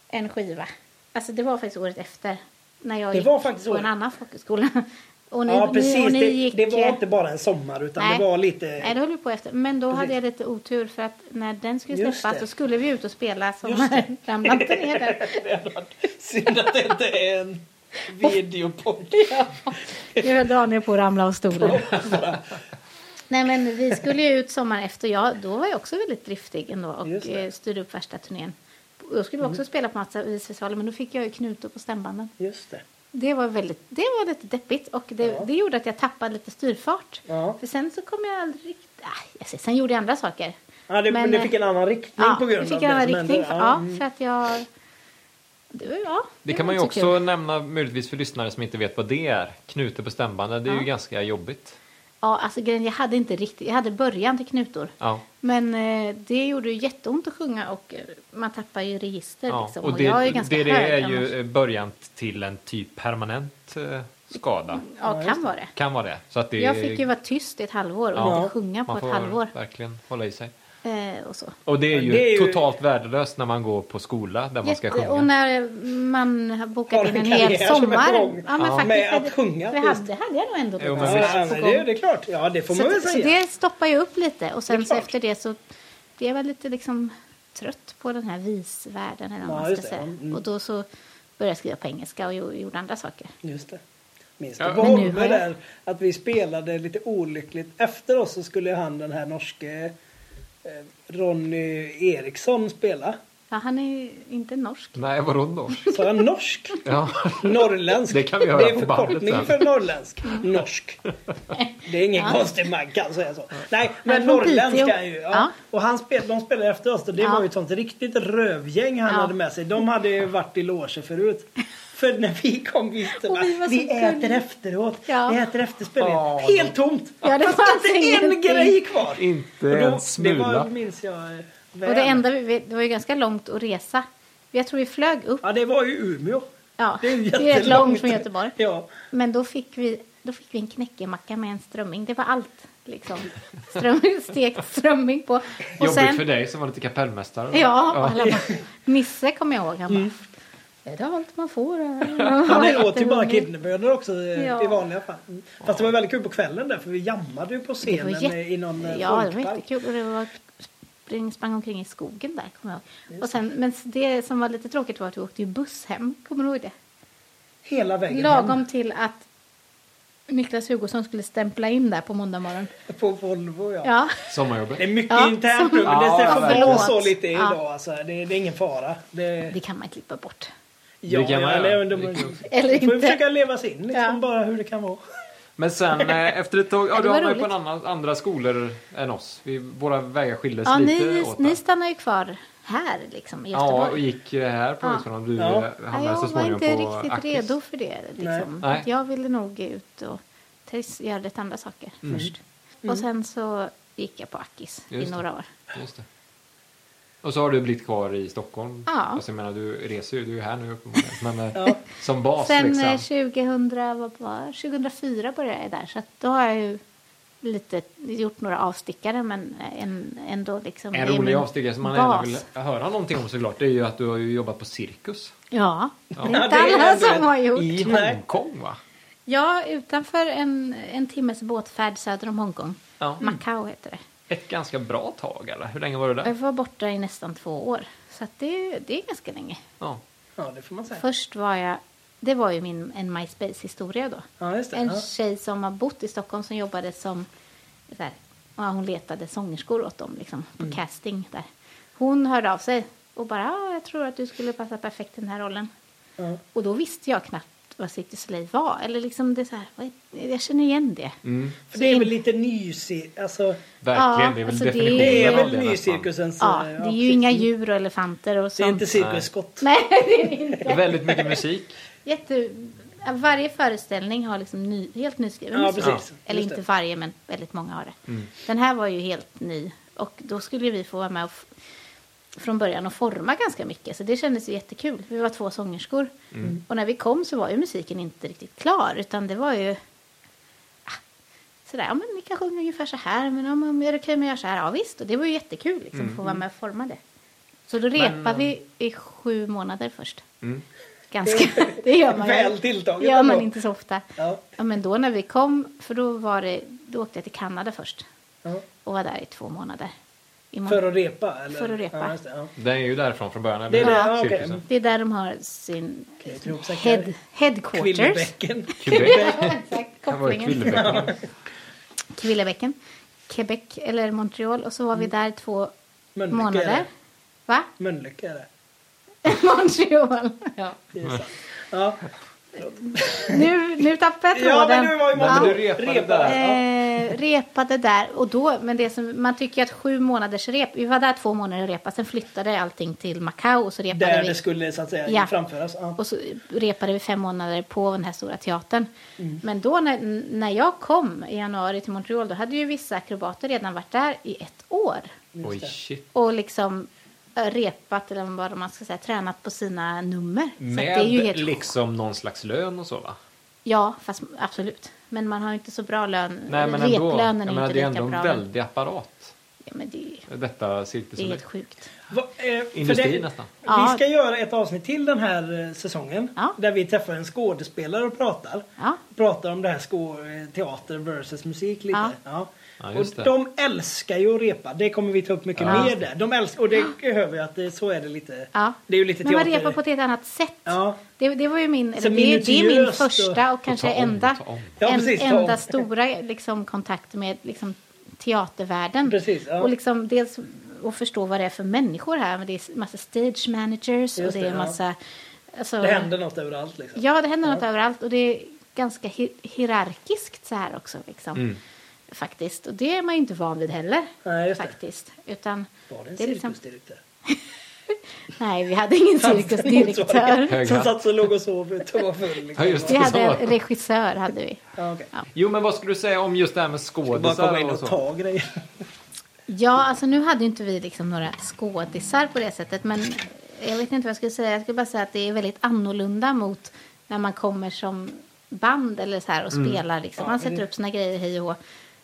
Speaker 4: en skiva. Alltså det var faktiskt året efter. När jag
Speaker 2: Det
Speaker 4: gick
Speaker 2: var faktiskt
Speaker 4: på
Speaker 2: året.
Speaker 4: en annan folkhögskola. Och ni,
Speaker 2: Ja precis,
Speaker 4: ni, och ni
Speaker 2: det,
Speaker 4: gick,
Speaker 2: det var
Speaker 4: eh,
Speaker 2: inte bara en sommar utan det var lite...
Speaker 4: Nej, det höll vi på efter. Men då hade
Speaker 2: Precis.
Speaker 4: jag lite otur för att när den skulle
Speaker 2: Just
Speaker 4: släppas
Speaker 2: det.
Speaker 4: så skulle vi ut och spela som ramlade inte ner där.
Speaker 2: Synd att det inte är en videopodd.
Speaker 4: Nu höll Daniel på att ramla av stolen. Nej men vi skulle ju ut sommaren efter. Ja, då var jag också väldigt driftig ändå
Speaker 2: Just
Speaker 4: och
Speaker 2: det. Mm.
Speaker 4: eh, styrde upp värsta turnén. Då skulle vi också spela på massa visfestivaler men då fick jag ju knutor på stämbanden.
Speaker 2: Just det.
Speaker 4: Det var, väldigt, det var lite deppigt och det,
Speaker 2: Ja.
Speaker 4: det gjorde att jag tappade lite styrfart.
Speaker 2: Ja.
Speaker 4: För sen så kom jag aldrig riktigt... Aj, jag ser, sen gjorde jag andra saker.
Speaker 2: Ja, det, men, det
Speaker 4: eh,
Speaker 2: fick en annan riktning
Speaker 4: Ja,
Speaker 2: på grund
Speaker 4: jag fick
Speaker 2: av
Speaker 4: en
Speaker 2: det
Speaker 4: annan
Speaker 2: som hände.
Speaker 4: riktning. För,
Speaker 2: Ja,
Speaker 4: ja,
Speaker 2: mm.
Speaker 4: för att jag... Det, var- ja,
Speaker 1: Det
Speaker 4: var
Speaker 1: kan man ju
Speaker 4: inte så
Speaker 1: också
Speaker 4: kul.
Speaker 1: nämna möjligtvis för lyssnare som inte vet vad det är. Knute på stämbanden, det är ju ganska jobbigt.
Speaker 4: Ja, alltså grejen, jag hade inte riktigt... Jag hade början till knutor.
Speaker 1: Ja.
Speaker 4: Men eh, det gjorde ju jätteont att sjunga och eh, man tappar ju register
Speaker 1: Ja.
Speaker 4: liksom.
Speaker 1: Och det,
Speaker 4: jag är
Speaker 1: det,
Speaker 4: ganska
Speaker 1: det,
Speaker 4: hög
Speaker 1: är
Speaker 4: annars.
Speaker 1: ju eh, början till en typ permanent eh, skada.
Speaker 4: Ja, kan vara det.
Speaker 1: Kan vara det. Så att det
Speaker 4: Jag fick ju vara tyst i ett halvår och
Speaker 1: Ja.
Speaker 4: inte sjunga på
Speaker 1: man
Speaker 4: ett
Speaker 1: får
Speaker 4: halvår.
Speaker 1: verkligen hålla i sig.
Speaker 4: Eh, och så.
Speaker 1: Och det är ju,
Speaker 2: Det är ju-
Speaker 1: totalt värdelöst när man går på skola där man ska
Speaker 4: Jätte-
Speaker 1: sjunga.
Speaker 4: och när man har bokat
Speaker 2: Har
Speaker 4: in
Speaker 2: en
Speaker 4: en hel
Speaker 2: karriär som är på
Speaker 4: sommar.
Speaker 2: gång.
Speaker 4: Ja, men
Speaker 1: Ja.
Speaker 4: faktiskt
Speaker 2: Med att
Speaker 4: hade-
Speaker 2: sjunga,
Speaker 4: Det
Speaker 2: just.
Speaker 4: hade, hade jag nog ändå.
Speaker 1: Jo, men
Speaker 4: lite
Speaker 2: Ja,
Speaker 4: på
Speaker 1: visst.
Speaker 2: ja,
Speaker 4: gång.
Speaker 2: men det, det är klart. Ja, det får
Speaker 4: Så,
Speaker 2: man väl
Speaker 4: att- så
Speaker 2: säga.
Speaker 4: det stoppar ju upp lite och
Speaker 2: Det är
Speaker 4: sen så
Speaker 2: klart.
Speaker 4: efter det så blev jag väl lite liksom trött på den här visvärlden eller vad
Speaker 2: Ja,
Speaker 4: man
Speaker 2: just
Speaker 4: ska
Speaker 2: det.
Speaker 4: säga.
Speaker 2: Mm.
Speaker 4: Och då så började jag skriva på engelska och gjo- gjorde andra saker.
Speaker 2: Just det. Minns
Speaker 1: Ja.
Speaker 2: du på
Speaker 4: Men nu har
Speaker 2: Holme
Speaker 4: jag-
Speaker 2: där att vi spelade lite olyckligt. Efter oss så skulle han den här norske eh, Ronny Eriksson spela.
Speaker 4: Ja, han är inte norsk.
Speaker 1: Nej, vadå norsk?
Speaker 2: Sa jag norsk?
Speaker 1: Ja,
Speaker 2: Norrländsk.
Speaker 1: Det kan vi höra
Speaker 2: Det är
Speaker 1: på bandet
Speaker 2: förkortning
Speaker 1: sen.
Speaker 2: för norrländsk. Norsk. Det är ingen konstig man kan säga så. Nej, men
Speaker 4: från
Speaker 2: norrländsk
Speaker 4: Piteå.
Speaker 2: är han ju. Ja.
Speaker 4: Ja.
Speaker 2: Och han spel, de spelade efter oss. och Det
Speaker 4: Ja.
Speaker 2: var ju ett sånt riktigt rövgäng han
Speaker 4: Ja.
Speaker 2: hade med sig. De hade ju varit i loger förut. För när vi kom visste
Speaker 4: Och vi var
Speaker 2: man,
Speaker 4: så
Speaker 2: vi äter
Speaker 4: gulliga."
Speaker 2: efteråt.
Speaker 4: Ja.
Speaker 2: Vi äter efter spelningen.
Speaker 1: Ja,
Speaker 2: Helt tomt!
Speaker 4: Ja, det
Speaker 2: Fast
Speaker 4: fanns
Speaker 2: inte en
Speaker 4: ingenting.
Speaker 2: grej kvar.
Speaker 1: inte
Speaker 2: Och då-
Speaker 1: en
Speaker 2: det
Speaker 1: smula.
Speaker 2: var, minns jag eh, väl.
Speaker 4: Och det enda vi, vi- det var ju ganska långt att resa. Jag tror vi flög upp.
Speaker 2: Ja, det var ju Umeå.
Speaker 4: Ja,
Speaker 2: Det är ju
Speaker 4: det är rätt långt
Speaker 2: jättelångt.
Speaker 4: från Göteborg.
Speaker 2: Ja.
Speaker 4: Men då fick vi, då fick vi en knäckemacka med en strömming. Det var allt. Liksom. Strömming, stekt strömming på. Och
Speaker 1: Jobbigt för dig som var lite kapellmästare.
Speaker 4: Ja, och alla bara, Nisse kommer jag ihåg. Han bara, är det allt man får? här?"
Speaker 2: Han åt ju bara
Speaker 4: Jättehungrig.
Speaker 2: kidneybönor också eh,
Speaker 4: Ja.
Speaker 2: i vanliga fall. Mm. Fast det var väldigt kul på kvällen där för vi jammade ju på
Speaker 4: Det var
Speaker 2: scenen
Speaker 4: jätte...
Speaker 2: eh, i någon eh,
Speaker 4: ja, det var
Speaker 2: folkpark.
Speaker 4: jättekul. Och det var spring, sprang omkring i skogen där, kommer jag ihåg. Och sen, men det som var lite tråkigt var att vi åkte ju buss hem. Kommer du ihåg det?
Speaker 2: Hela vägen hem
Speaker 4: Lagom till att Niklas Hugosson skulle stämpla in där på måndag morgon.
Speaker 2: på Volvo. Ja.
Speaker 4: Ja.
Speaker 1: Sommarjobbet.
Speaker 2: Det är mycket
Speaker 4: Ja,
Speaker 2: internt
Speaker 4: som-
Speaker 2: nu men det
Speaker 1: Ja,
Speaker 2: får väl
Speaker 1: verkligen.
Speaker 2: vara så lite
Speaker 4: Ja.
Speaker 2: idag alltså. det, det är ingen fara. Det,
Speaker 4: Det kan man klippa bort.
Speaker 2: ja,
Speaker 1: det kan man
Speaker 2: eller,
Speaker 1: göra.
Speaker 2: eller,
Speaker 1: Det
Speaker 2: man
Speaker 1: kan-
Speaker 4: Eller
Speaker 2: får ju
Speaker 4: inte.
Speaker 2: försöka leva sig in liksom
Speaker 4: Ja.
Speaker 2: bara hur det kan vara.
Speaker 1: Men sen eh, efter ett tag, ja
Speaker 4: Det
Speaker 1: du
Speaker 4: var
Speaker 1: hamnade ju
Speaker 4: roligt.
Speaker 1: på en annan, andra skolor än oss. Vi, våra vägar skildes
Speaker 4: Ja,
Speaker 1: lite
Speaker 4: ni,
Speaker 1: åt där.
Speaker 4: ni stannar ju kvar här liksom, i
Speaker 1: Ja, och
Speaker 4: Göteborg.
Speaker 1: gick eh, här på
Speaker 4: Ja.
Speaker 1: högskolan. Du
Speaker 2: Ja.
Speaker 1: eh,
Speaker 4: Ja,
Speaker 1: hamnade så
Speaker 4: jag var
Speaker 1: småningom
Speaker 4: inte
Speaker 1: på
Speaker 4: riktigt
Speaker 1: Ackis.
Speaker 4: redo för det. Liksom.
Speaker 1: Nej.
Speaker 4: Att Jag ville nog ut och test- göra lite andra saker först. Och sen så gick jag på Ackis
Speaker 1: Mm. Just
Speaker 4: i
Speaker 1: det.
Speaker 4: några år.
Speaker 1: Just det. Och så har du blivit kvar i Stockholm.
Speaker 4: Ja.
Speaker 1: Alltså, jag menar, du reser ju, du är här nu uppenbarligen. Men eh,
Speaker 2: Ja.
Speaker 1: som bas
Speaker 4: Sen eh,
Speaker 1: liksom.
Speaker 4: 2000, vad var, 2004 började jag där, så att då har jag ju lite gjort några avstickare, men eh, en, ändå liksom...
Speaker 1: En
Speaker 4: det är
Speaker 1: rolig
Speaker 4: min
Speaker 1: avstickare som man gärna
Speaker 4: bas.
Speaker 1: vill höra någonting om såklart, det är ju att du har ju jobbat på cirkus.
Speaker 4: Ja, det är
Speaker 2: Ja,
Speaker 4: inte
Speaker 2: det är
Speaker 4: alla
Speaker 2: ändå
Speaker 4: som
Speaker 2: ett-
Speaker 4: har gjort.
Speaker 1: I
Speaker 2: Nej.
Speaker 1: Hongkong va?
Speaker 4: Ja, utanför en, en timmes båtfärd söder om Hongkong.
Speaker 1: Ja.
Speaker 4: Macau heter det.
Speaker 1: Ett ganska bra tag eller? Hur länge var du
Speaker 4: Jag
Speaker 1: där?
Speaker 4: var borta i nästan två år, så att det, det är ganska länge.
Speaker 1: Ja.
Speaker 2: Ja det får man säga.
Speaker 4: Först var jag... Det var ju min, en MySpace-historia då.
Speaker 2: Ja, just det.
Speaker 4: En
Speaker 2: Ja.
Speaker 4: tjej som har bott i Stockholm som jobbade som... Så här, ja, hon letade sångerskor åt dem liksom, på
Speaker 2: Mm.
Speaker 4: casting där. Hon hörde av sig och bara ah, “jag tror att du skulle passa perfekt i den här rollen”.
Speaker 2: Ja.
Speaker 4: Och då visste jag knappt vad City Slave var. Eller liksom det är så här, vad är- jag känner igen det.
Speaker 1: Mm.
Speaker 2: För det är väl lite nysigt. Alltså,
Speaker 1: Verkligen,
Speaker 4: Ja,
Speaker 1: det är väl
Speaker 4: alltså, det är-
Speaker 1: definitionen
Speaker 2: det är
Speaker 1: av
Speaker 2: väl
Speaker 1: nästan.
Speaker 2: nycirkusens...
Speaker 4: Ja,
Speaker 2: eh,
Speaker 4: det är ju
Speaker 2: precis.
Speaker 4: inga djur och elefanter och
Speaker 2: Det är
Speaker 4: sånt.
Speaker 2: inte cirkusskott.
Speaker 4: Nej, det är det inte.
Speaker 1: Det är Väldigt mycket musik.
Speaker 4: Jätte... Varje föreställning har liksom ny, helt nyskriven
Speaker 2: Ja,
Speaker 4: musik.
Speaker 2: precis.
Speaker 4: Eller
Speaker 2: Just
Speaker 4: inte
Speaker 2: det. Mm.
Speaker 4: varje, men väldigt många har det. Den här var ju helt ny. Och då skulle vi få vara med och f- från början och forma ganska mycket. Så det kändes ju jättekul. Vi var två sångerskor.
Speaker 2: Mm.
Speaker 4: Och när vi kom så var ju musiken inte riktigt klar. Utan det var ju ah, sådär, ja men ni kan sjunga ungefär så här. Men om, om är det okej om jag gör så här? Ja visst. Och det var ju jättekul liksom, att få
Speaker 2: Mm.
Speaker 4: vara med och forma det. Så då repade vi i sju månader först.
Speaker 1: Mm.
Speaker 4: Ganska. Det gör man
Speaker 2: Väl
Speaker 4: ju.
Speaker 2: tilltaget
Speaker 4: gör man
Speaker 2: ändå.
Speaker 4: inte så ofta.
Speaker 2: Ja.
Speaker 4: Ja, men då när vi kom, för då var det, då åkte jag till Kanada först
Speaker 2: Ja.
Speaker 4: och var där i två månader. I Mon-
Speaker 2: För att repa? Eller?
Speaker 4: För att repa.
Speaker 2: Ja, just det, ja.
Speaker 1: Den är ju därifrån från början.
Speaker 2: Det är
Speaker 1: eller?
Speaker 2: det, ja, okej. Mm.
Speaker 1: Cirkusen.
Speaker 4: Det är där de har sin
Speaker 2: Jag tror också att det är
Speaker 4: head, headquarters.
Speaker 2: Kvillebäcken.
Speaker 1: Quebec.
Speaker 4: Ja, exakt,
Speaker 1: Det var ju
Speaker 4: kopplingen.
Speaker 1: Kvillebäck.
Speaker 4: Kvillebäcken. Quebec eller Montreal och så var
Speaker 2: Mm.
Speaker 4: vi där två
Speaker 2: Mölnlycke är
Speaker 4: månader.
Speaker 2: det.
Speaker 4: Va?
Speaker 2: Mölnlycke är det.
Speaker 4: Montreal. Ja.
Speaker 2: det
Speaker 1: Mm.
Speaker 2: är sant. Ja.
Speaker 4: Nu, nu tappade jag
Speaker 2: ja,
Speaker 4: tråden.
Speaker 2: men nu var ju
Speaker 1: Men
Speaker 2: många
Speaker 1: du repade där.
Speaker 2: Ja.
Speaker 4: Eh, repade där och då, men det som, man tycker ju att sju månaders rep, vi var där två månader och repade, sen flyttade allting till Macau och så repade
Speaker 2: Där
Speaker 4: vi.
Speaker 2: det skulle så att säga
Speaker 4: Ja.
Speaker 2: framföras. Ja.
Speaker 4: Och så repade vi fem månader på den här stora teatern.
Speaker 1: Mm.
Speaker 4: Men då när, när jag kom i januari till Montreal, då hade ju vissa akrobater redan varit där i ett år.
Speaker 1: Oj, shit.
Speaker 4: Och liksom eh, repat, eller vad man ska säga, tränat på sina nummer. så att
Speaker 1: Med
Speaker 4: det är ju helt
Speaker 1: liksom någon slags lön och så va?
Speaker 4: Ja, fast absolut. Men man har ju inte så bra lön.
Speaker 1: Nej men ändå. Jag
Speaker 4: Replönen är
Speaker 1: menar,
Speaker 4: ju
Speaker 1: det är
Speaker 4: inte
Speaker 1: ändå
Speaker 4: lika
Speaker 1: en
Speaker 4: bra.
Speaker 1: väldig apparat.
Speaker 4: Ja, men det,
Speaker 1: Detta cirkus.
Speaker 4: det är helt sjukt.
Speaker 2: Va, eh, för
Speaker 1: Industri
Speaker 2: det-
Speaker 1: nästan.
Speaker 4: Ja.
Speaker 2: Vi ska göra ett avsnitt till den här eh, säsongen.
Speaker 4: Ja.
Speaker 2: Där vi träffar en skådespelare och pratar.
Speaker 4: Ja.
Speaker 2: Pratar om det här skå- eh, teater versus musik lite.
Speaker 4: Ja.
Speaker 2: Ja.
Speaker 1: Ja,
Speaker 2: och
Speaker 1: just det.
Speaker 2: de älskar ju att repa. Det kommer vi ta upp mycket
Speaker 1: Ja.
Speaker 2: mer där. De älskar, och det hör vi att det, så är det lite.
Speaker 4: Ja.
Speaker 2: Det är ju lite
Speaker 4: men man
Speaker 2: teater.
Speaker 4: repar på ett helt annat sätt.
Speaker 2: Ja.
Speaker 4: Det, det var ju min,
Speaker 2: Så
Speaker 4: eller det, är- det är min
Speaker 2: minutiöst och-
Speaker 4: första och kanske
Speaker 1: ta om,
Speaker 4: enda,
Speaker 1: ta om.
Speaker 2: Ja,
Speaker 4: en,
Speaker 2: precis, ta om.
Speaker 4: enda stora liksom, kontakt med liksom, teatervärlden.
Speaker 2: Precis, ja.
Speaker 4: Och liksom, dels och förstå vad det är för människor här. Men det är massa stage managers och
Speaker 2: Just
Speaker 4: det,
Speaker 2: det,
Speaker 4: är
Speaker 2: ja.
Speaker 4: massa... Alltså,
Speaker 2: Det händer något överallt liksom.
Speaker 4: Ja, det händer
Speaker 2: Ja.
Speaker 4: något överallt och det är ganska hi- hierarkiskt så här också. Liksom.
Speaker 1: Mm.
Speaker 4: Faktiskt. Och det är man ju inte van vid heller.
Speaker 2: Nej, just det.
Speaker 4: faktiskt. Utan,
Speaker 2: Var det en
Speaker 4: det är liksom-
Speaker 2: cirkusdirektör?
Speaker 4: nej, vi hade ingen
Speaker 2: Fanns det
Speaker 4: cirkusdirektör.
Speaker 1: Hög
Speaker 2: Som
Speaker 1: hatt.
Speaker 2: satt och låg och sov ute och var full. Liksom.
Speaker 1: Ja, just det.
Speaker 4: Vi hade
Speaker 1: Så.
Speaker 4: en regissör. Hade vi.
Speaker 2: Ja, okej.
Speaker 1: Jo, men vad skulle du säga om just det här med
Speaker 2: Bara komma
Speaker 1: skådisar
Speaker 2: in
Speaker 1: och
Speaker 2: och
Speaker 1: så?
Speaker 2: ta grejer.
Speaker 4: Ja, alltså nu hade ju inte vi liksom några skådisar på det sättet. Men jag vet inte vad jag skulle säga. Jag skulle bara säga att det är väldigt annorlunda mot när man kommer som band eller så här och spelar. Liksom. Man sätter upp sina grejer hej och hå.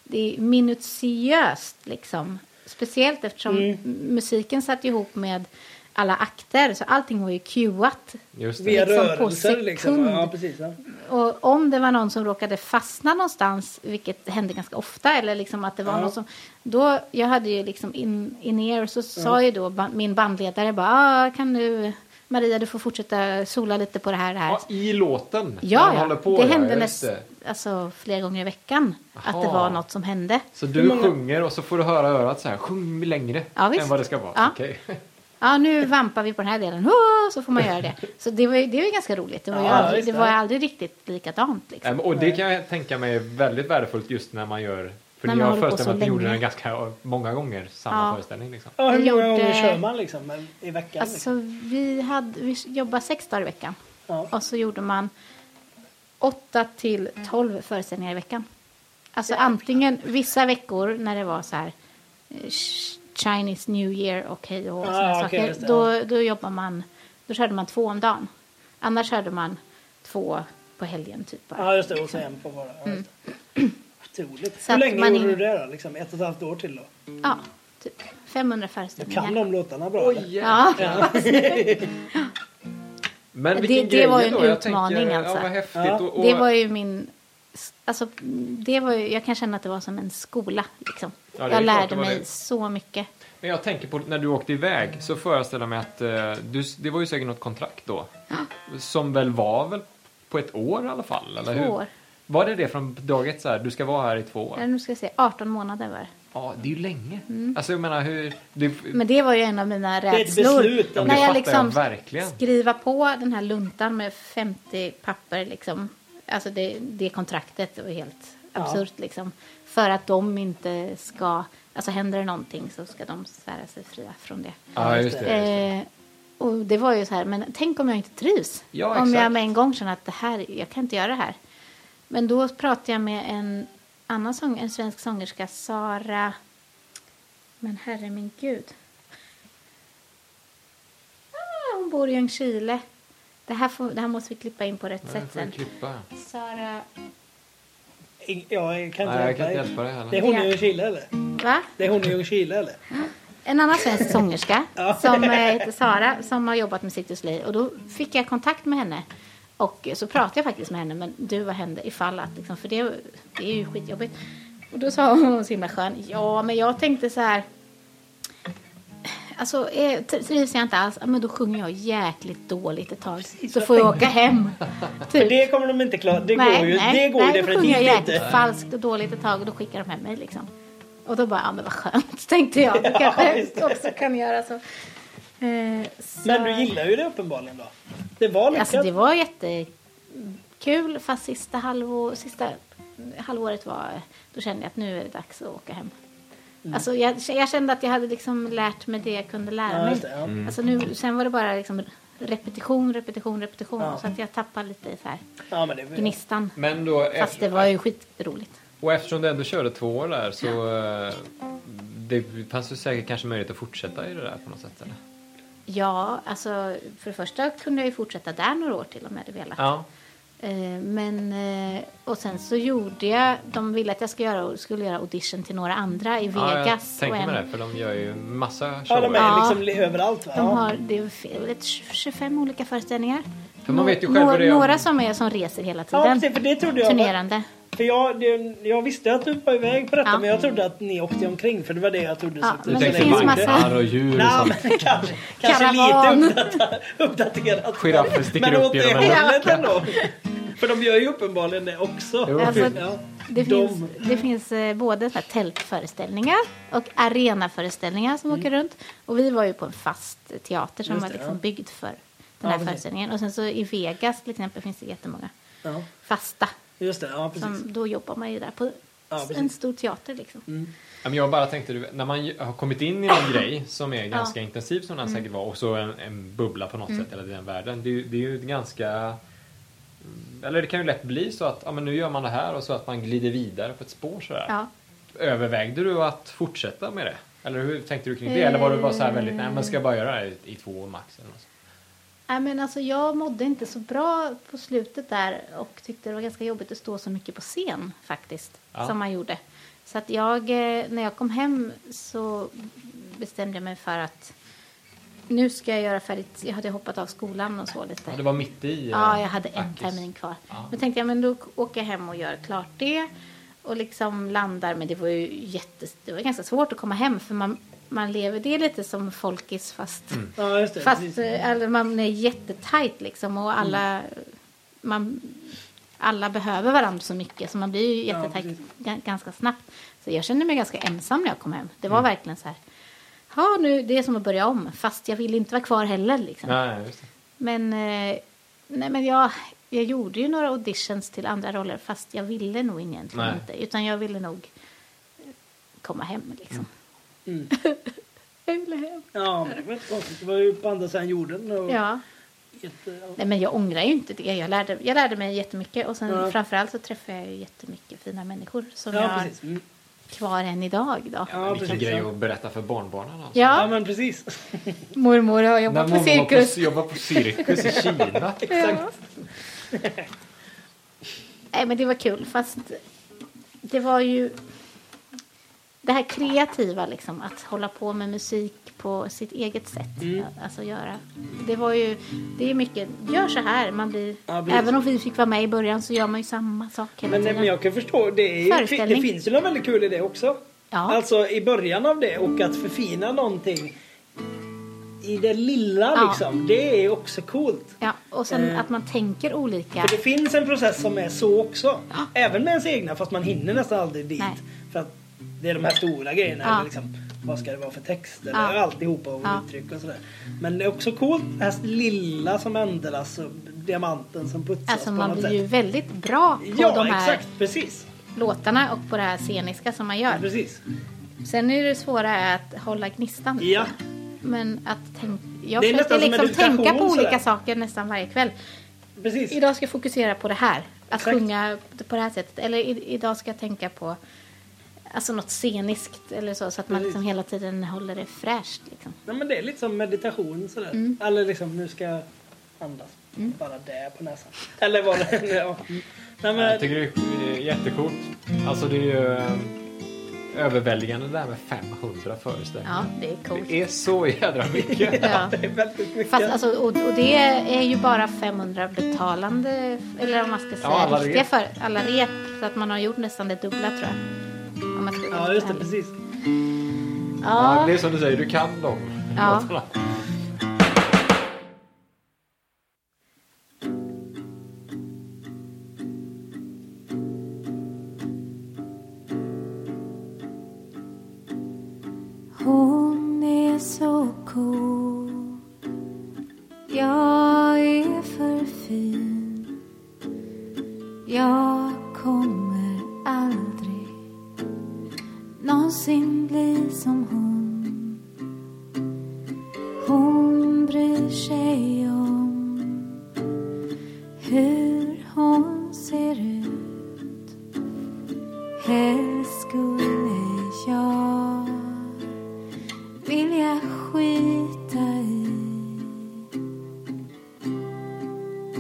Speaker 4: Det är minutiöst liksom. Speciellt eftersom musiken satt ihop med alla akter. Så allting var ju cuat.
Speaker 1: Just det.
Speaker 2: Via
Speaker 4: Liksom på
Speaker 2: rörelser liksom.
Speaker 4: sekund.
Speaker 2: Ja, precis. Ja.
Speaker 4: Och om det var någon som råkade fastna någonstans, vilket hände ganska ofta, eller liksom att det var
Speaker 2: Ja.
Speaker 4: någon som... Då, jag hade ju liksom in, in er och så sa ju då ba, min bandledare bara, ah, kan du, Maria du får fortsätta sola lite på det här, det här.
Speaker 1: Ja, I låten? när
Speaker 4: ja,
Speaker 1: de
Speaker 4: ja.
Speaker 1: håller på,
Speaker 4: det
Speaker 1: ja,
Speaker 4: hände
Speaker 1: just
Speaker 4: näst,
Speaker 1: det.
Speaker 4: alltså, flera gånger i veckan att det
Speaker 1: Aha.
Speaker 4: var något som hände.
Speaker 1: Så du
Speaker 2: Hur många-
Speaker 1: sjunger och så får du höra örat så här, sjung längre
Speaker 4: Ja, visst.
Speaker 1: än vad det ska vara.
Speaker 4: Ja.
Speaker 1: Okej.
Speaker 4: Ja, nu vampar vi på den här delen, Åh, så får man göra det. Så det var ju, det var ju ganska roligt, det var ju
Speaker 2: Ja,
Speaker 4: aldrig,
Speaker 2: visst,
Speaker 4: det var ju
Speaker 2: ja.
Speaker 4: aldrig riktigt likadant. Liksom.
Speaker 1: Nej, men- Ehm, Och det kan jag tänka mig är väldigt värdefullt just när man gör, för
Speaker 4: När man
Speaker 1: jag
Speaker 4: håller på
Speaker 1: föreställer mig
Speaker 4: så
Speaker 1: att ni gjorde
Speaker 4: länge.
Speaker 1: den ganska många gånger, samma
Speaker 4: Ja.
Speaker 1: föreställning liksom.
Speaker 2: ja, hur
Speaker 4: Vi
Speaker 2: många gånger
Speaker 4: gjorde-
Speaker 2: kör man liksom men, i veckan?
Speaker 4: Alltså,
Speaker 2: Liksom?
Speaker 4: vi, hade, vi jobbade sex dagar i veckan.
Speaker 2: Ja.
Speaker 4: Och så gjorde man 8 till 12 föreställningar i veckan. Alltså antingen vissa veckor när det var så här eh, Ch- Chinese New Year och hej och hå och
Speaker 2: Ah,
Speaker 4: såna
Speaker 2: okej,
Speaker 4: saker.
Speaker 2: just det,
Speaker 4: Då, då jobbar man, då körde man två om dagen. Annars körde man två på helgen typ
Speaker 1: Ah.
Speaker 4: bara.
Speaker 2: ja, just det. Och så en på bara. Ja, just det. Otroligt.
Speaker 4: Mm.
Speaker 2: Hur
Speaker 4: Så att
Speaker 2: länge
Speaker 4: man
Speaker 2: gjorde
Speaker 4: in-
Speaker 2: du det då? Liksom? Ett och ett halvt år till då?
Speaker 4: Ja, typ 500
Speaker 2: Kan
Speaker 4: föreställningar.
Speaker 2: de låtarna bra? eller?
Speaker 1: Oj,
Speaker 4: Ja,
Speaker 1: Men
Speaker 4: Det-
Speaker 1: vilken
Speaker 4: det
Speaker 1: grej
Speaker 4: var ju en
Speaker 1: då. Jag
Speaker 4: utmaning,
Speaker 1: tänker,
Speaker 4: alltså.
Speaker 1: Ja, vad häftigt.
Speaker 2: Ja.
Speaker 1: Och, och,
Speaker 4: det var ju min... Alltså, det var ju, jag kan känna att det var som en skola. Liksom.
Speaker 1: Ja, det är
Speaker 4: jag
Speaker 1: klart det
Speaker 4: lärde
Speaker 1: var
Speaker 4: mig
Speaker 1: det.
Speaker 4: så mycket.
Speaker 1: Men jag tänker på när du åkte iväg så föreställer jag mig att eh, du, det var ju säkert något kontrakt då. Som väl var väl på ett år i alla fall? Eller
Speaker 4: Två
Speaker 1: hur?
Speaker 4: år.
Speaker 1: Var det det från dag ett så här, du ska vara här i två år?
Speaker 4: Ja, nu ska jag se, 18 månader var det.
Speaker 1: Ja, det är ju länge. Alltså jag menar hur... Det,
Speaker 4: Mm. Men det var ju en av mina
Speaker 2: är ett
Speaker 4: rädslor.
Speaker 2: beslut,
Speaker 1: ja,
Speaker 2: om
Speaker 1: men det fattar
Speaker 4: när jag
Speaker 1: jag
Speaker 4: liksom
Speaker 1: verkligen.
Speaker 4: skriva på den här luntan med 50 papper liksom. Alltså det, det kontraktet var helt
Speaker 2: Ja.
Speaker 4: absurt liksom. För att de inte ska, alltså händer det någonting så ska de svära sig fria från det.
Speaker 1: Ja, just det. Just det.
Speaker 4: Eh, och det var ju så här, men tänk om jag inte trivs?
Speaker 1: Ja,
Speaker 4: om
Speaker 1: exakt.
Speaker 4: jag med en gång känner att det här, jag kan inte göra det här. Men då pratade jag med en annan sång, en svensk sångerska, Sara... Men herre min gud. Ah, hon bor i Ljungskile. Det här, får, det här måste vi klippa in på rätt
Speaker 1: Ja,
Speaker 4: sätt
Speaker 1: jag får
Speaker 4: sen.
Speaker 1: klippa.
Speaker 4: Sara...
Speaker 2: Ing- Ja, jag kan inte,
Speaker 1: Nej, jag kan inte
Speaker 2: dig.
Speaker 1: hjälpa dig heller.
Speaker 2: Det är hon
Speaker 4: Ja. Mm.
Speaker 2: i Ljungskile eller?
Speaker 4: Va?
Speaker 2: Det är hon i Ljungskile eller?
Speaker 4: En annan svensk sångerska
Speaker 2: Ja.
Speaker 4: som eh, heter Sara som har jobbat med Citrus Lee. Och då fick jag kontakt med henne. Och eh, så pratade jag faktiskt med henne. Men du, vad hände ifall att? Liksom, för det, det är ju skitjobbigt. Och då sa hon så himla skön. Ja, men jag tänkte så här. Alltså, eh, tri- trivs jag inte alls, ja, men då sjunger jag jäkligt dåligt ett tag. så
Speaker 2: jag
Speaker 4: får jag åka hem. Typ.
Speaker 2: Det kommer de inte klara. Det går ju, det går ju
Speaker 4: nej, då sjunger
Speaker 2: definitivt
Speaker 4: jag
Speaker 2: inte.
Speaker 4: jäkligt falskt och dåligt ett tag och då skickar de hem mig liksom. Och då bara, ja men vad skönt, tänkte jag. Då kanske
Speaker 2: just
Speaker 4: jag också kan göra så. Eh, så-
Speaker 2: Men du gillar ju det uppenbarligen då? Det var lyckat.
Speaker 4: Alltså det var jättekul, fast sista, halvår, sista halvåret var, då kände jag att nu är det dags att åka hem.
Speaker 2: Mm.
Speaker 4: Alltså jag, jag kände att jag hade liksom lärt mig det jag kunde lära
Speaker 2: Ja,
Speaker 4: mig.
Speaker 2: just det, ja.
Speaker 4: Alltså nu, sen var det bara liksom repetition, repetition, repetition.
Speaker 2: Ja.
Speaker 4: Så att jag tappade lite i så här
Speaker 2: Ja, Mm. men det,
Speaker 4: gnistan.
Speaker 1: Men då,
Speaker 4: Fast
Speaker 1: efter,
Speaker 4: det var ju skitroligt.
Speaker 1: och eftersom du ändå körde två år där så... eh, Det fanns ju säkert kanske möjlighet att fortsätta i det där på något sätt eller?
Speaker 4: Ja, alltså för det första kunde jag ju fortsätta där några år till om jag hade velat.
Speaker 1: Ja.
Speaker 4: Eh, Men, eh, och sen så gjorde jag, de ville att jag skulle göra, skulle göra audition till några andra i
Speaker 1: Ja, jag
Speaker 4: Vegas. och
Speaker 1: tänker
Speaker 4: en-
Speaker 1: mig det, för de gör ju massa
Speaker 2: ja,
Speaker 1: shower.
Speaker 2: de är
Speaker 4: Ja.
Speaker 2: liksom li- överallt va?
Speaker 4: De har det är fel- ett 25 olika föreställningar.
Speaker 1: För man vet ju
Speaker 4: Nå-
Speaker 1: själv hur det är om-
Speaker 4: Några som, är, som reser hela
Speaker 2: ja,
Speaker 4: tiden.
Speaker 2: precis, för det trodde jag. var-
Speaker 4: turnerande.
Speaker 2: För jag, det, jag visste att du var iväg på detta
Speaker 4: Ja.
Speaker 2: men jag trodde att ni åkte omkring för det var det jag trodde.
Speaker 4: Ja,
Speaker 2: så att
Speaker 1: Du
Speaker 4: men
Speaker 1: tänker
Speaker 4: det finns
Speaker 1: vagnar
Speaker 4: massa-
Speaker 1: och djur och
Speaker 2: Nej,
Speaker 1: sånt.
Speaker 2: men kanske, kanske
Speaker 4: Karavan.
Speaker 2: lite uppdata- uppdaterat.
Speaker 1: Giraffer sticker
Speaker 2: men
Speaker 1: upp
Speaker 2: åt det
Speaker 1: genom en
Speaker 2: hållet ändå. För de gör ju uppenbarligen det också.
Speaker 1: Jo.
Speaker 4: Alltså,
Speaker 2: ja.
Speaker 4: Det
Speaker 2: De-
Speaker 4: finns, det finns eh, både så här tältföreställningar och arenaföreställningar som åker runt. Och vi var ju på en fast teater som
Speaker 2: Mm. Just
Speaker 4: var
Speaker 2: det,
Speaker 4: liksom
Speaker 2: ja.
Speaker 4: byggd för den
Speaker 2: Ja,
Speaker 4: här
Speaker 2: precis.
Speaker 4: föreställningen. Och sen så i Vegas till exempel finns det jättemånga
Speaker 2: Ja,
Speaker 4: fasta.
Speaker 2: just det. Ja, precis.
Speaker 4: Som, då jobbar man ju där på
Speaker 2: Ja,
Speaker 4: s-
Speaker 2: precis. Mm.
Speaker 4: en stor teater liksom.
Speaker 1: Ja, men jag bara tänkte, du vet, när man ju har kommit in i en grej som är ganska intensiv som den
Speaker 4: Mm.
Speaker 1: säkert var och så en, en bubbla på något sätt eller i den världen. Det, är ju- det är ju ett ganska... mm, Eller det kan ju lätt bli så att ja, men nu gör man det här och så att man glider vidare på ett spår sådär.
Speaker 4: Ja.
Speaker 1: Övervägde du att fortsätta med det? Eller hur tänkte du kring det? Eller var du bara så här väldigt, nej men ska jag bara göra det i, i två år max? Eller något sånt?
Speaker 4: Nej, men alltså, jag mådde inte så bra på slutet där och tyckte det var ganska jobbigt att stå så mycket på scen faktiskt,
Speaker 1: Ja.
Speaker 4: som man gjorde. Så att jag, eh, när jag kom hem så bestämde jag mig för att nu ska jag göra färdigt. Jag hade hoppat av skolan och så lite.
Speaker 1: Ja, det var mitt i? eh,
Speaker 4: Ja, jag hade en
Speaker 1: Akis.
Speaker 4: termin kvar.
Speaker 1: Ja.
Speaker 4: Men tänkte jag, men då åker jag hem och gör klart det. Och liksom landar, men det var ju jätte, det var ganska svårt att komma hem för man, man lever, det är lite som folkis
Speaker 1: Mm.
Speaker 4: fast
Speaker 2: Ja, just det.
Speaker 4: Fast
Speaker 2: precis. Mm.
Speaker 4: eh, alla- man är jättetajt liksom och alla, man, alla behöver varandra så mycket så man blir ju
Speaker 2: Ja,
Speaker 4: jättetajt
Speaker 2: precis.
Speaker 4: ga- ganska snabbt. Så jag kände mig ganska ensam när jag kom hem. Det
Speaker 2: Mm.
Speaker 4: var verkligen så här, ja nu, det är som att börja om fast jag vill inte vara kvar heller liksom.
Speaker 1: Nej, just det.
Speaker 4: Men, eh, nej, men jag, jag gjorde ju några auditions till andra roller fast jag ville nog egentligen
Speaker 1: Nej.
Speaker 4: inte. Utan jag ville nog eh, komma hem liksom.
Speaker 2: Mm.
Speaker 4: Jag ville hem.
Speaker 2: Ja, men det var inte konstigt. Det var ju på andra sidan jorden. Och
Speaker 4: Ja.
Speaker 2: jätte, ja.
Speaker 4: Nej, men jag ångrar ju inte det. Jag lärde, jag lärde mig jättemycket och sen
Speaker 2: Ja.
Speaker 4: framförallt så träffade jag ju jättemycket fina människor som jag
Speaker 2: ja,
Speaker 4: har
Speaker 2: precis. Mm.
Speaker 4: kvar än idag då.
Speaker 2: Ja,
Speaker 1: Vilken
Speaker 2: precis,
Speaker 1: grej
Speaker 2: ja.
Speaker 1: att berätta för barnbarnen alltså.
Speaker 2: Ja,
Speaker 4: Ja,
Speaker 2: men precis.
Speaker 4: mormor har jobbat på
Speaker 1: mormor var
Speaker 4: cirkus.
Speaker 1: på- jobbade på cirkus i Kina.
Speaker 2: Exakt.
Speaker 4: Nej, men det var kul fast det var ju det här kreativa liksom att hålla på med musik på sitt eget sätt.
Speaker 2: Mm.
Speaker 4: Alltså göra. Det var ju, det är mycket, gör så här. Man blir,
Speaker 2: Ja, precis.
Speaker 4: även om vi fick vara med i början så gör man ju samma sak hela
Speaker 2: Men, nej,
Speaker 4: tiden.
Speaker 2: men jag kan förstå. Det, är ju,
Speaker 4: Föreställning.
Speaker 2: det finns ju något väldigt kul i det också.
Speaker 4: Ja.
Speaker 2: Alltså i början av det och att förfina någonting i det lilla
Speaker 4: Ja.
Speaker 2: liksom. Det är också coolt.
Speaker 4: Ja, och sen
Speaker 2: Eh.
Speaker 4: att man tänker olika.
Speaker 2: För det finns en process som är så också. Även med ens egna fast man hinner nästan aldrig dit.
Speaker 4: Nej.
Speaker 2: För att det är de här stora grejerna.
Speaker 4: Ja.
Speaker 2: eller Liksom, vad ska det vara för text? Eller
Speaker 4: Ja.
Speaker 2: alltihopa och
Speaker 4: Ja.
Speaker 2: uttryck och sådär. Men det är också coolt det här lilla som ändras och diamanten som putsas
Speaker 4: Alltså
Speaker 2: på
Speaker 4: man
Speaker 2: något
Speaker 4: blir
Speaker 2: sätt.
Speaker 4: ju väldigt bra på
Speaker 2: ja,
Speaker 4: de här
Speaker 2: exakt. Precis.
Speaker 4: låtarna och på det här sceniska som man gör.
Speaker 2: precis.
Speaker 4: Sen är det svåra är att hålla gnistan.
Speaker 2: Ja.
Speaker 4: Men att tänka... Jag
Speaker 2: Det är
Speaker 4: försökte
Speaker 2: nästan som
Speaker 4: liksom
Speaker 2: meditation
Speaker 4: tänka på
Speaker 2: sådär.
Speaker 4: olika saker nästan varje kväll.
Speaker 2: precis.
Speaker 4: Idag ska jag fokusera på det här. Att
Speaker 2: Exakt.
Speaker 4: sjunga på det här sättet. Eller i, idag ska jag tänka på alltså något sceniskt eller så. Så att man
Speaker 2: Precis.
Speaker 4: liksom hela tiden håller det fräscht. Liksom.
Speaker 2: Nej, men det är lite som meditation sådär.
Speaker 4: Mm.
Speaker 2: Eller liksom nu ska jag andas bara där på näsan. Eller vad det nu är. Nej,
Speaker 1: Jag
Speaker 2: men,
Speaker 1: tycker det är jättekort. Alltså det är ju eh, överväldigande det där med 500
Speaker 4: Ja,
Speaker 1: föreställningar.
Speaker 4: det är coolt.
Speaker 1: Det är så jädra mycket.
Speaker 4: Ja.
Speaker 2: det är väldigt mycket.
Speaker 4: Fast, alltså, och, och det är ju bara 500 betalande, eller om man ska säga
Speaker 1: Ja, alla
Speaker 4: riktiga
Speaker 1: rep.
Speaker 4: för alla rep. Så att man har gjort nästan det dubbla tror jag. Om man ska vara
Speaker 2: Ja,
Speaker 4: lite
Speaker 2: just det.
Speaker 4: ärlig.
Speaker 2: Precis.
Speaker 1: Ja,
Speaker 4: Ja,
Speaker 1: det är som du säger, du kan dem.
Speaker 4: Ja.
Speaker 1: låtarna.
Speaker 3: Hon är så cool Jag är för fin Jag kommer aldrig någonsin bli som hon Hon bryr sig om hur hon ser ut Helst skulle jag vill jag skita i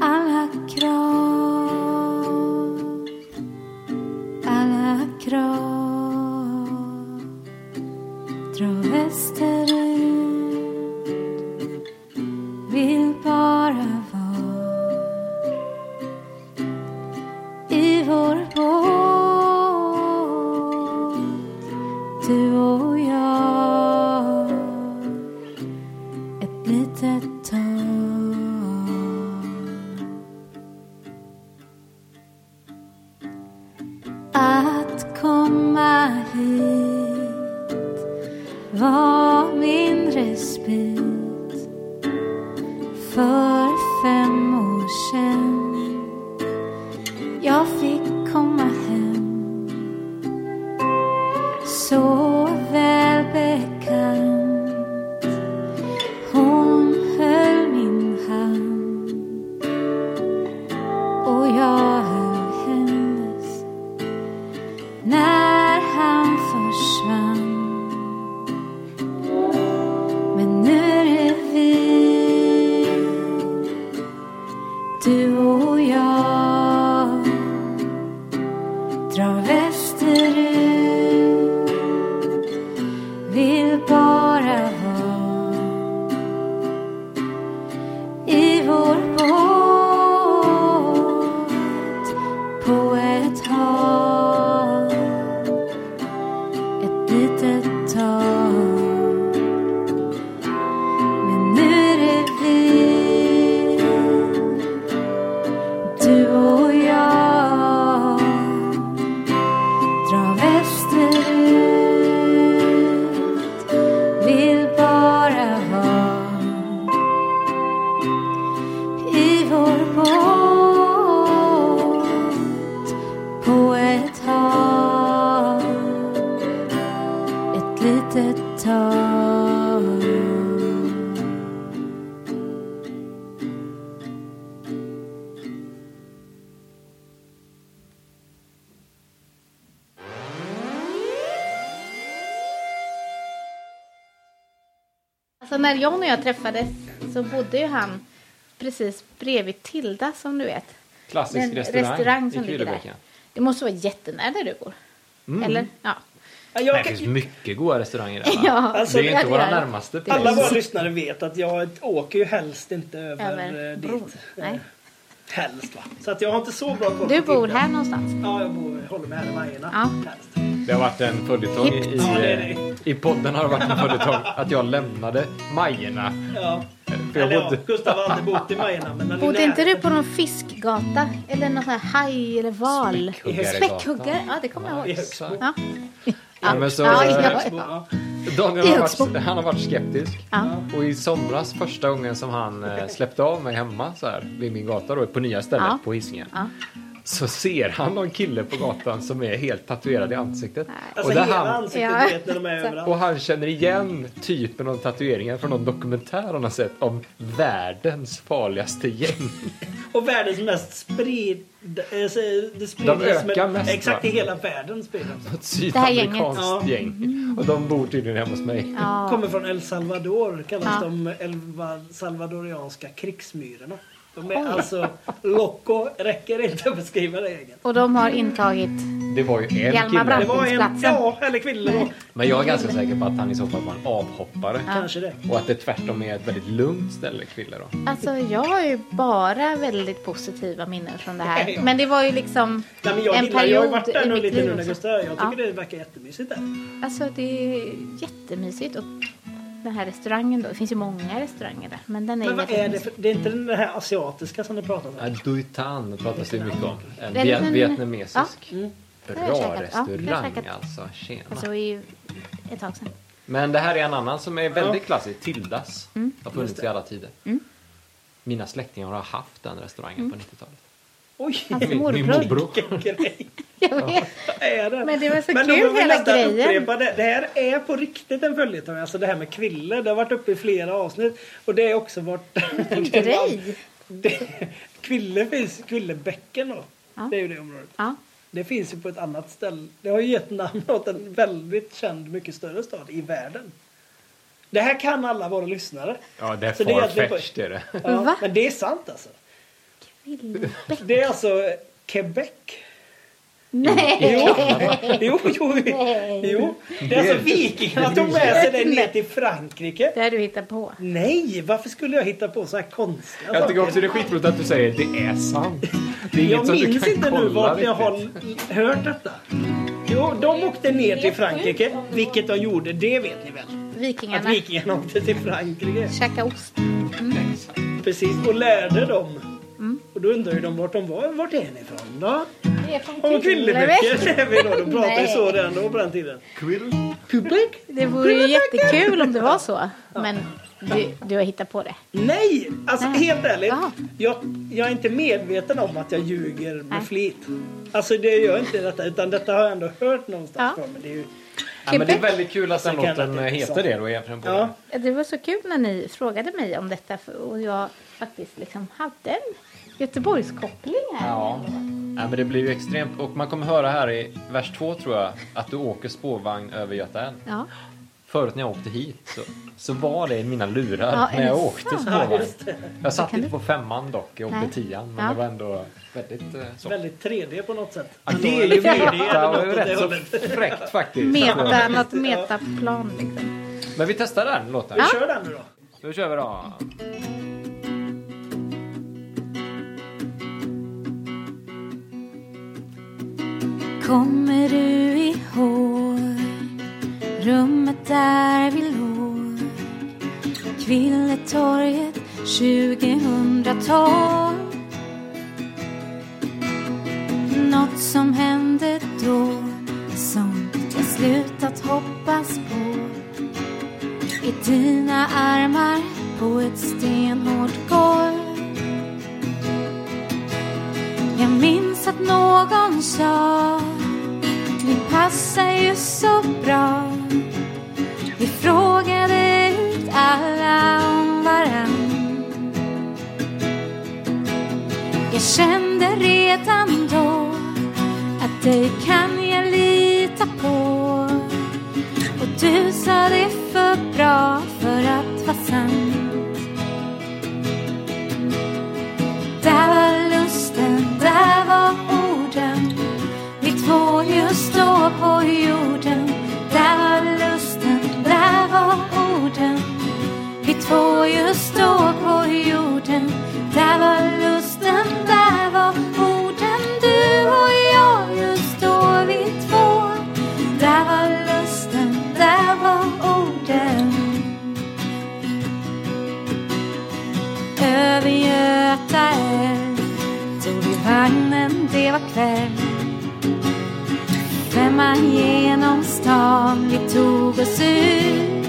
Speaker 3: alla krav, alla krav. Dra västerut, vill bara vara i vår båt du och jag ett litet tag komma hit var min respit för fem år sedan. Jag fick komma hem så välbekant. Hon höll min hand och jag höll hennes när han försvann. Men nu är det vi, du och jag drar västerut vill bara vara i vår båt på ett hav ett litet tag Men nu är det vi du och jag drar västerut vill bara vara i vår båt på ett hav ett litet tag
Speaker 4: Alltså när John och jag träffades så bodde ju han precis bredvid Tilda som du vet.
Speaker 1: Klassisk
Speaker 4: Den
Speaker 1: Alltså, restaurang,
Speaker 4: som
Speaker 1: i
Speaker 4: ligger
Speaker 1: Kulebäcken.
Speaker 4: där. Det måste vara jättenära där du bor.
Speaker 1: Mm.
Speaker 4: Eller? Ja.
Speaker 2: Ja,
Speaker 1: Nej,
Speaker 2: Jag,
Speaker 1: Det finns mycket goda restauranger där. va?
Speaker 4: Ja,
Speaker 1: Det
Speaker 2: Alltså,
Speaker 1: är ju inte
Speaker 4: det
Speaker 1: våra
Speaker 4: är-
Speaker 1: närmaste.
Speaker 4: det är-
Speaker 2: alla våra
Speaker 1: precis.
Speaker 2: lyssnare vet att jag åker ju helst inte över,
Speaker 4: Över
Speaker 2: eh,
Speaker 4: bron.
Speaker 2: dit.
Speaker 4: Nej.
Speaker 2: Helst va. Så att jag har inte så bra koll
Speaker 4: Du
Speaker 2: på
Speaker 4: bor
Speaker 2: Tinder.
Speaker 4: här någonstans.
Speaker 2: Ja, jag bor, håller mig här i Majerna.
Speaker 4: Ja.
Speaker 2: Helst.
Speaker 1: Det har varit en följetong i,
Speaker 4: Hippt.
Speaker 1: i,
Speaker 2: Ja, det är det.
Speaker 1: i podden har det varit en följetong att jag lämnade Majerna.
Speaker 2: Ja.
Speaker 1: För jag
Speaker 2: Eller ja,
Speaker 1: bodde...
Speaker 2: Gustav har aldrig bott i Majerna. Men han är
Speaker 4: Bodde
Speaker 2: nära.
Speaker 4: inte du på någon fiskgata? Eller någon sån här haj eller val?
Speaker 1: Späckhuggaregatan.
Speaker 4: Späckhuggare? Ja, det kommer jag
Speaker 2: I
Speaker 4: ihåg.
Speaker 2: Högsbo.
Speaker 4: Ja.
Speaker 1: Ja, men så,
Speaker 4: Ja,
Speaker 1: eh,
Speaker 4: ja.
Speaker 2: Ja.
Speaker 1: Daniel
Speaker 4: I
Speaker 1: har
Speaker 4: Högsbo.
Speaker 1: varit, han har varit skeptisk.
Speaker 4: Ja.
Speaker 1: Och i somras, första gången som han eh, släppte av mig hemma så här, vid min gata då, på nya stället
Speaker 4: Ja.
Speaker 1: på Hisingen.
Speaker 4: Ja.
Speaker 1: Så ser han någon kille på gatan som är helt tatuerad i ansiktet.
Speaker 4: Nej.
Speaker 2: Alltså
Speaker 1: Och, där
Speaker 2: hela
Speaker 1: han,
Speaker 2: ansiktet
Speaker 4: Ja.
Speaker 2: vet när de är överallt.
Speaker 1: och han känner igen typen av tatueringar från någon dokumentär han har sett om världens farligaste gäng.
Speaker 2: Och världens mest sprid... eh, s- Det
Speaker 1: De
Speaker 2: sprids
Speaker 1: ökar mest,
Speaker 2: Exakt
Speaker 1: va?
Speaker 2: i hela världen sprids de.
Speaker 1: Ett sydafrikanskt
Speaker 2: Det här gänget.
Speaker 1: gäng. Och de bor tydligen hemma hos mig.
Speaker 4: Ja.
Speaker 2: Kommer från El Salvador. Kallas
Speaker 4: Ja.
Speaker 2: de elva salvadorianska krigsmyrorna. De är alltså... Loco räcker inte att beskriva det egen.
Speaker 4: Och de har intagit...
Speaker 1: Det var ju en
Speaker 4: Hjalmar
Speaker 1: kille.
Speaker 2: Det
Speaker 4: Brandt.
Speaker 2: var en...
Speaker 4: Platsen.
Speaker 2: Ja, eller kvinna.
Speaker 1: Men jag är ganska säker på att han i så fall var en avhoppare.
Speaker 2: Kanske det.
Speaker 1: Och att det tvärtom är ett väldigt lugnt ställe, Kville då.
Speaker 4: Alltså jag har ju bara väldigt positiva minnen från det
Speaker 2: Ja,
Speaker 4: här.
Speaker 2: ja.
Speaker 4: Men det var ju liksom
Speaker 2: Nej, men jag
Speaker 4: en
Speaker 2: gillar, jag har ju varit
Speaker 4: period
Speaker 2: där
Speaker 4: i
Speaker 2: nu
Speaker 4: mitt
Speaker 2: lite nu
Speaker 4: liv.
Speaker 2: när
Speaker 4: också.
Speaker 2: Gustav Jag tycker
Speaker 4: Ja.
Speaker 2: det verkar jättemysigt där.
Speaker 4: Alltså det är jättemysigt. Och den här restaurangen då. Det finns ju många restauranger där. Men den är
Speaker 2: Men vad är det
Speaker 4: jättemysig.
Speaker 2: för... Det är inte den här asiatiska som du pratar om?
Speaker 1: Dui Tan pratas det ju mycket om. En
Speaker 4: Den-
Speaker 1: viet-
Speaker 4: den-
Speaker 1: vietnamesisk.
Speaker 4: Den Mm. har jag
Speaker 1: Bra
Speaker 4: käkat. Ja, den har jag
Speaker 1: restaurang
Speaker 4: käkat.
Speaker 1: alltså. Tjena.
Speaker 4: Alltså det är ju ett tag sedan.
Speaker 1: Men det här är en annan som är väldigt
Speaker 2: Ja.
Speaker 1: klassisk. Tildas.
Speaker 4: Mm.
Speaker 1: Har funnits i alla tider. Mina släktingar har haft den restaurangen på 90-talet.
Speaker 2: Oj!
Speaker 1: Min-
Speaker 4: Hans Mm. Alltså, morbror.
Speaker 1: Min morbror.
Speaker 2: Vilken grej!
Speaker 4: Jag vet.
Speaker 2: är det?
Speaker 4: Men det var så
Speaker 2: då
Speaker 4: kul,
Speaker 2: får vi
Speaker 4: hela
Speaker 2: nästan
Speaker 4: grejen.
Speaker 2: upprepa Det. det här är på riktigt en följetong. Alltså det här med kviller. Det har varit uppe i flera avsnitt. Och det är också vart... Vilken
Speaker 4: grej.
Speaker 2: Kville finns, Kvillebäcken då.
Speaker 4: Ja.
Speaker 2: Det är ju det området.
Speaker 4: Ja.
Speaker 2: Det finns ju på ett annat ställe. Det har ju gett namn åt en väldigt känd, mycket större stad i världen. Det här kan alla våra lyssnare.
Speaker 1: Ja, det är
Speaker 2: Så det är egentligen bara-
Speaker 1: farfetched är det.
Speaker 2: Ja,
Speaker 4: Va?
Speaker 2: Men det är sant alltså.
Speaker 4: Kvillebäck.
Speaker 2: Det är alltså Quebec.
Speaker 4: Nej.
Speaker 2: Jo, jo, jo. jo. Det är alltså vikingarna tog med sig det ner till Frankrike.
Speaker 4: Det har du hittat på.
Speaker 2: Nej, varför skulle jag hitta på så här konstiga
Speaker 1: Jag
Speaker 2: saker?
Speaker 1: tycker också det är skitroligt att du säger det är sant. Det är inget
Speaker 2: Jag
Speaker 1: som du
Speaker 2: minns
Speaker 1: kan
Speaker 2: inte nu
Speaker 1: kolla
Speaker 2: vart jag
Speaker 1: riktigt.
Speaker 2: har hört detta. Jo, de åkte ner till Frankrike, vilket de gjorde, det vet ni väl? Att
Speaker 4: Vikingarna.
Speaker 2: vikingarna åkte till Frankrike.
Speaker 4: Käka ost.
Speaker 2: Precis, och lärde dem. Och då undrar ju de vart de var. Vart är ni ifrån då?
Speaker 4: Det Mm. är från
Speaker 2: Om
Speaker 4: Kvillebäck.
Speaker 2: Kvillebäck är vi då. De pratade ju
Speaker 4: Nej.
Speaker 2: så redan då på den tiden.
Speaker 1: Quill?
Speaker 2: Kubik?
Speaker 4: Det vore ju jättekul om det var så. Men du, du har hittat på det.
Speaker 2: Nej! Alltså
Speaker 4: Mm. Nej.
Speaker 2: helt ärligt.
Speaker 4: Jaha.
Speaker 2: Jag, jag är inte medveten om att jag ljuger med
Speaker 4: Nej.
Speaker 2: flit. Alltså det gör inte detta. Utan detta har jag ändå hört någonstans
Speaker 4: Ja.
Speaker 2: från. Men det är ju,
Speaker 1: Ja, men det är
Speaker 4: Quebec.
Speaker 1: väldigt kul att den
Speaker 2: Sen kan jag
Speaker 1: låten eh,
Speaker 2: inte-
Speaker 1: heter det då egentligen. På
Speaker 2: ja.
Speaker 4: Det var så kul när ni frågade mig om detta för- och jag faktiskt liksom hade en Göteborgskoppling här.
Speaker 1: Ja. Nej, men det blir ju extremt. Och man kommer höra här i vers två tror jag att du åker spårvagn över Göta älv.
Speaker 4: Ja.
Speaker 1: Förut när jag åkte hit så, så var det i mina lurar
Speaker 4: Ja,
Speaker 1: när jag
Speaker 4: är det
Speaker 1: åkte
Speaker 4: sant?
Speaker 2: Ja,
Speaker 1: spårvagn.
Speaker 2: just det.
Speaker 1: Jag satt
Speaker 4: kan
Speaker 1: inte
Speaker 4: du-
Speaker 1: på femman dock, jag åkte
Speaker 4: Nej.
Speaker 1: tian. Men
Speaker 4: Ja.
Speaker 1: det var ändå väldigt eh, så.
Speaker 2: Väldigt 3D på något sätt.
Speaker 1: Ja,
Speaker 2: Men det är ju
Speaker 1: meta,
Speaker 2: media eller
Speaker 1: och
Speaker 2: något åt det
Speaker 1: rätt så
Speaker 2: hållet.
Speaker 1: fräckt faktiskt.
Speaker 4: Meta, något metaplan liksom.
Speaker 1: Men vi testar den låten.
Speaker 4: Ja.
Speaker 2: Kör den nu då.
Speaker 1: Då kör vi då.
Speaker 3: Kommer du ihåg rummet där vi låg? Kvilletorget 2012 Något som hände då som jag slutat hoppas på I dina armar på ett stenhårt golv jag minns att någon sa Ni passar ju så bra Vi frågade ut alla om varann Jag kände redan då Att dig kan jag lita på Och du sa det är för bra för att vara sant Där var lusten, där var orden Vi två just då på jorden Där var lusten, där var orden Vi två just då på jorden Där var lusten, där var orden Du och jag just då vi två Där var lusten, där var orden över Göta älv Tog vi vagnen, det var kväll Femman genom stan, vi tog oss ut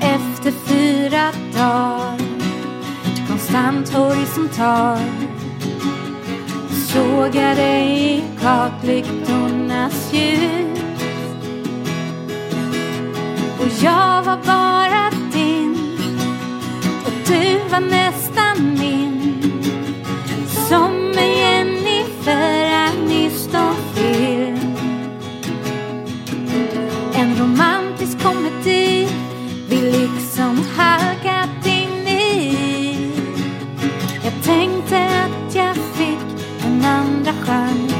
Speaker 3: Efter fyra dagar Konstant horisontal Såg jag dig i gatlyktornas ljus och jag var bara din och du var nästan min som en Jennifer Aniston-film En romantisk komedi vi liksom halkat in i Jag tänkte att jag fick en andra chans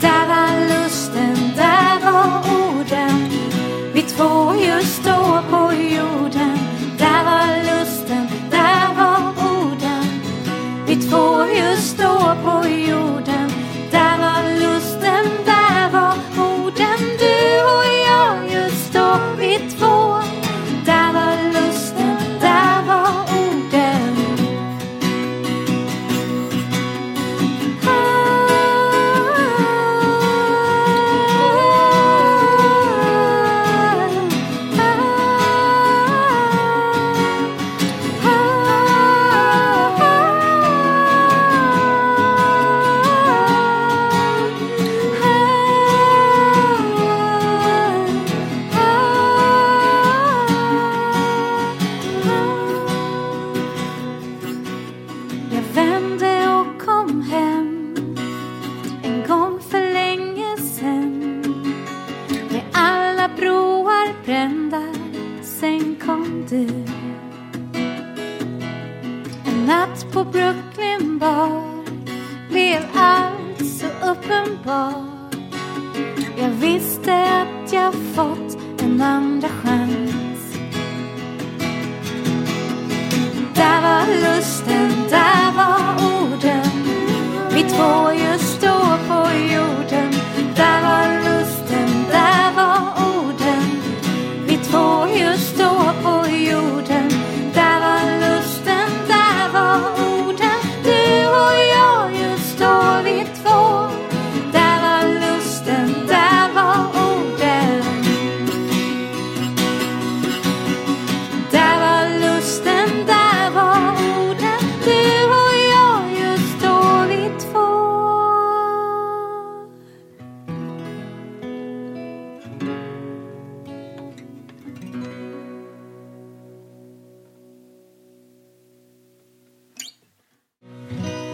Speaker 3: Där var lusten, där var orden Vi två just då på jorden Där var lusten, där var orden Vi två just då på jorden Där var lusten, där var orden Du och jag just då vi två Där var lusten, där var orden Jag vände och kom hem en gång för länge sen Med alla broar brända Sen kom du En natt på Brooklyn bar Blev allt så uppenbart Jag visste att jag fått en andra chans Där var lusten, där var orden Vi två just då på jorden Där var lusten, där var orden Vi två just då på jorden Där var lusten, där var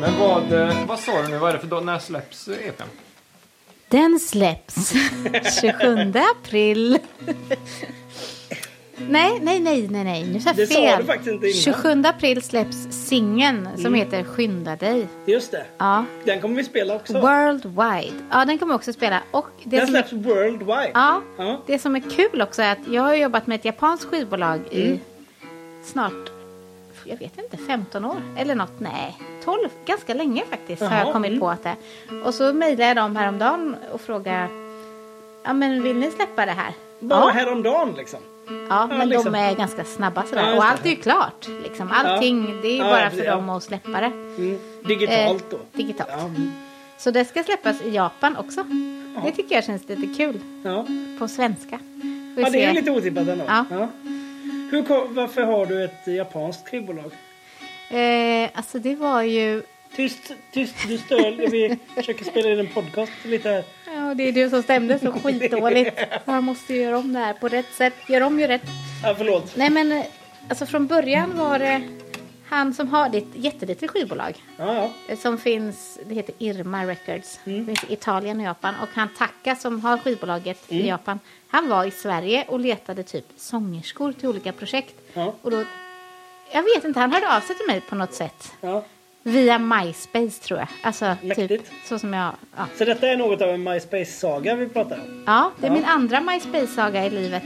Speaker 1: Men vad, eh, vad sa du nu, vad är det för dag? När släpps eh, EPn?
Speaker 4: Den släpps 27 april. nej, nej, nej, nej, nej, nu sa jag
Speaker 2: Det
Speaker 4: fel.
Speaker 2: sa du faktiskt inte innan. Mm.
Speaker 4: 27 april släpps singeln som heter Skynda dig.
Speaker 2: Just det.
Speaker 4: Ja.
Speaker 2: Den kommer vi spela också.
Speaker 4: Worldwide. Ja, den kommer jag också spela. Och det
Speaker 2: den
Speaker 4: som är
Speaker 2: släpps worldwide.
Speaker 4: Ja,
Speaker 2: Ja.
Speaker 4: det som är kul också är att jag har jobbat med ett japanskt skivbolag
Speaker 2: Mm.
Speaker 4: i snart, jag vet inte, 15 år eller något. Nej, 12, ganska länge faktiskt har
Speaker 2: Jaha,
Speaker 4: jag kommit
Speaker 2: mm.
Speaker 4: på att det är. Och så mejlade jag dem häromdagen och frågade, ja men vill ni släppa det här?
Speaker 2: Bara
Speaker 4: ja,
Speaker 2: häromdagen liksom.
Speaker 4: ja,
Speaker 2: ja,
Speaker 4: men
Speaker 2: liksom.
Speaker 4: de är ganska snabba
Speaker 2: Ja,
Speaker 4: sådär.
Speaker 2: just
Speaker 4: och
Speaker 2: det.
Speaker 4: allt är ju klart, liksom. Allting, det är ju
Speaker 2: Ja,
Speaker 4: bara för
Speaker 2: ja.
Speaker 4: dem att släppa det.
Speaker 2: Mm. Digitalt då.
Speaker 4: Eh, digitalt.
Speaker 2: Ja.
Speaker 4: Så det ska släppas i Japan också. Det tycker jag känns lite kul,
Speaker 2: Ja.
Speaker 4: på svenska. Får vi
Speaker 2: ja, det är
Speaker 4: se.
Speaker 2: ju lite otippat ändå.
Speaker 4: Ja.
Speaker 2: Hur, kom- varför har du ett japanskt skivbolag?
Speaker 4: Eh, alltså det var ju...
Speaker 2: Tyst, tyst, du stör. Vi försöker spela in en podcast lite här.
Speaker 4: Ja, det är du som stämde så skitdåligt. Man måste ju göra om det här på rätt sätt. Gör om ju rätt.
Speaker 2: Ja, förlåt.
Speaker 4: Nej men, eh, alltså från början var det han som har ditt jättelitet skivbolag.
Speaker 2: Ja, ja.
Speaker 4: eh, Som finns, det heter Irma Records.
Speaker 2: Mm.
Speaker 4: Det finns i Italien och Japan. Och han Taka som har skivbolaget
Speaker 2: Mm.
Speaker 4: i Japan. Han var i Sverige och letade typ sångerskor till olika projekt.
Speaker 2: Ja.
Speaker 4: Och då, jag vet inte, han hörde av sig till mig på något sätt.
Speaker 2: ja.
Speaker 4: Via MySpace tror jag. Alltså typ
Speaker 2: Mäktigt.
Speaker 4: så som jag... Ja,
Speaker 2: Så detta är något av en MySpace-saga vi pratar om.
Speaker 4: ja det är
Speaker 2: Ja.
Speaker 4: min andra MySpace-saga i livet.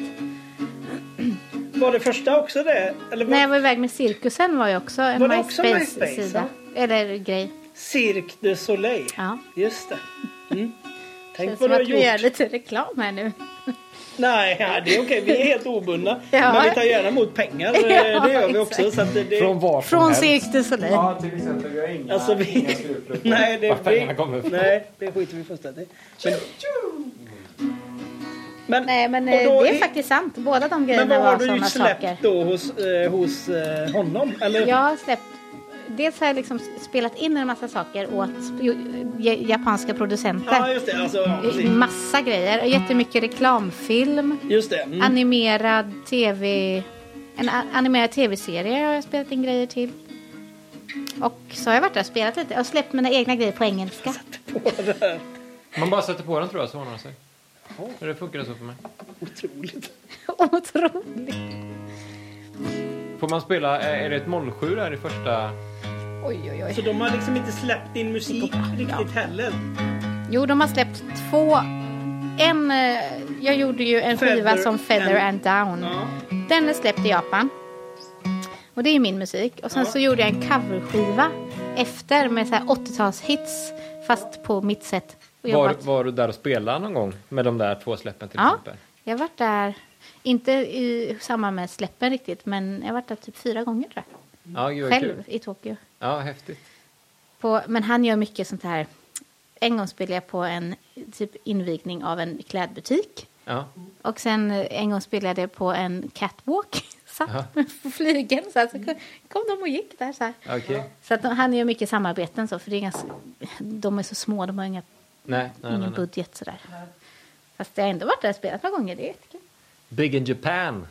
Speaker 2: Var det första också det? Eller var
Speaker 4: När jag var iväg med cirkusen var jag också en
Speaker 2: Var det också
Speaker 4: MySpace-sida. Eller grej.
Speaker 2: Cirque du Soleil?
Speaker 4: Ja.
Speaker 2: Just det. Mm.
Speaker 4: Känns
Speaker 2: Tänk vad
Speaker 4: som
Speaker 2: du har
Speaker 4: att vi gör
Speaker 2: gjort.
Speaker 4: lite reklam här nu.
Speaker 2: Nej, ja, det är okej. Vi är helt obundna.
Speaker 4: Ja.
Speaker 2: Men vi tar gärna emot pengar.
Speaker 4: Ja,
Speaker 2: det gör vi
Speaker 4: exakt.
Speaker 2: också. Så att det, det...
Speaker 1: Från var som
Speaker 4: Från
Speaker 1: helst.
Speaker 4: Cirque du Soleil.
Speaker 1: Ja, till exempel. Vi har inga,
Speaker 2: Alltså, vi-
Speaker 1: inga skrupler på
Speaker 2: Nej, det,
Speaker 1: var pengarna
Speaker 2: vi-
Speaker 1: kommer ifrån.
Speaker 2: Nej, det skiter vi fullständigt i. Men... Men,
Speaker 4: Nej men
Speaker 2: och
Speaker 4: eh,
Speaker 2: då
Speaker 4: det är
Speaker 2: i-
Speaker 4: faktiskt sant. Båda de
Speaker 2: Men
Speaker 4: grejerna
Speaker 2: vad har
Speaker 4: var
Speaker 2: du
Speaker 4: sådana
Speaker 2: släppt
Speaker 4: saker.
Speaker 2: då hos, eh, hos eh, honom? Eller?
Speaker 4: Jag har släppt... Dels har jag liksom spelat in en massa saker åt sp- j- japanska
Speaker 2: Ja,
Speaker 4: producenter.
Speaker 2: just det. Alltså, ja, precis.
Speaker 4: Massa grejer. Jättemycket reklamfilm.
Speaker 2: Just det. Mm.
Speaker 4: Animerad tv... En a- animerad tv-serie har jag spelat in grejer till. Och så har jag varit där och spelat lite och släppt mina egna grejer på engelska.
Speaker 1: Man bara sätter på den tror jag så ordnar det sig. Det funkar det så för mig.
Speaker 2: Otroligt.
Speaker 4: Otroligt.
Speaker 1: Får man spela, eh, är det ett 07 där i första?
Speaker 4: Oj, oj,
Speaker 2: Så
Speaker 4: oj.
Speaker 2: de har liksom inte släppt in musik riktigt heller.
Speaker 4: Jo, de har släppt två... En... eh, Jag gjorde ju en
Speaker 2: Feather
Speaker 4: skiva som Feather and
Speaker 2: and-
Speaker 4: Down.
Speaker 2: Ja.
Speaker 4: Den är släppt i Japan. Och det är ju min musik. Och sen
Speaker 2: Ja.
Speaker 4: så gjorde jag en coverskiva efter med så här 80-talshits. Fast på mitt sätt. Och jag
Speaker 1: Var,
Speaker 4: bara-
Speaker 1: var du där och spelade någon gång med de där två släppen till
Speaker 4: Ja,
Speaker 1: exempel?
Speaker 4: jag har varit där, inte i samband med släppen riktigt, men jag har varit där typ fyra gånger tror jag.
Speaker 1: Ja, gud vad
Speaker 4: Själv
Speaker 1: kul.
Speaker 4: i Tokyo.
Speaker 1: Ja, häftigt.
Speaker 4: På, men han gör mycket sånt här. En gång spelade jag på en typ invigning av en klädbutik.
Speaker 1: Ja.
Speaker 4: Och sen eh, en gång spelade jag på en catwalk.
Speaker 1: Jaha.
Speaker 4: Satt på flygeln så, här, så kom- kom de och gick där så här.
Speaker 1: Okej.
Speaker 4: Så att de, han gör mycket samarbeten så, för det är ganska, de är så små, de har inga,
Speaker 1: Nej, nej, nej,
Speaker 4: ingen
Speaker 1: nej.
Speaker 4: budget sådär. Fast jag har ändå varit där och spelat några gånger, det är jättekul.
Speaker 1: Big in Japan.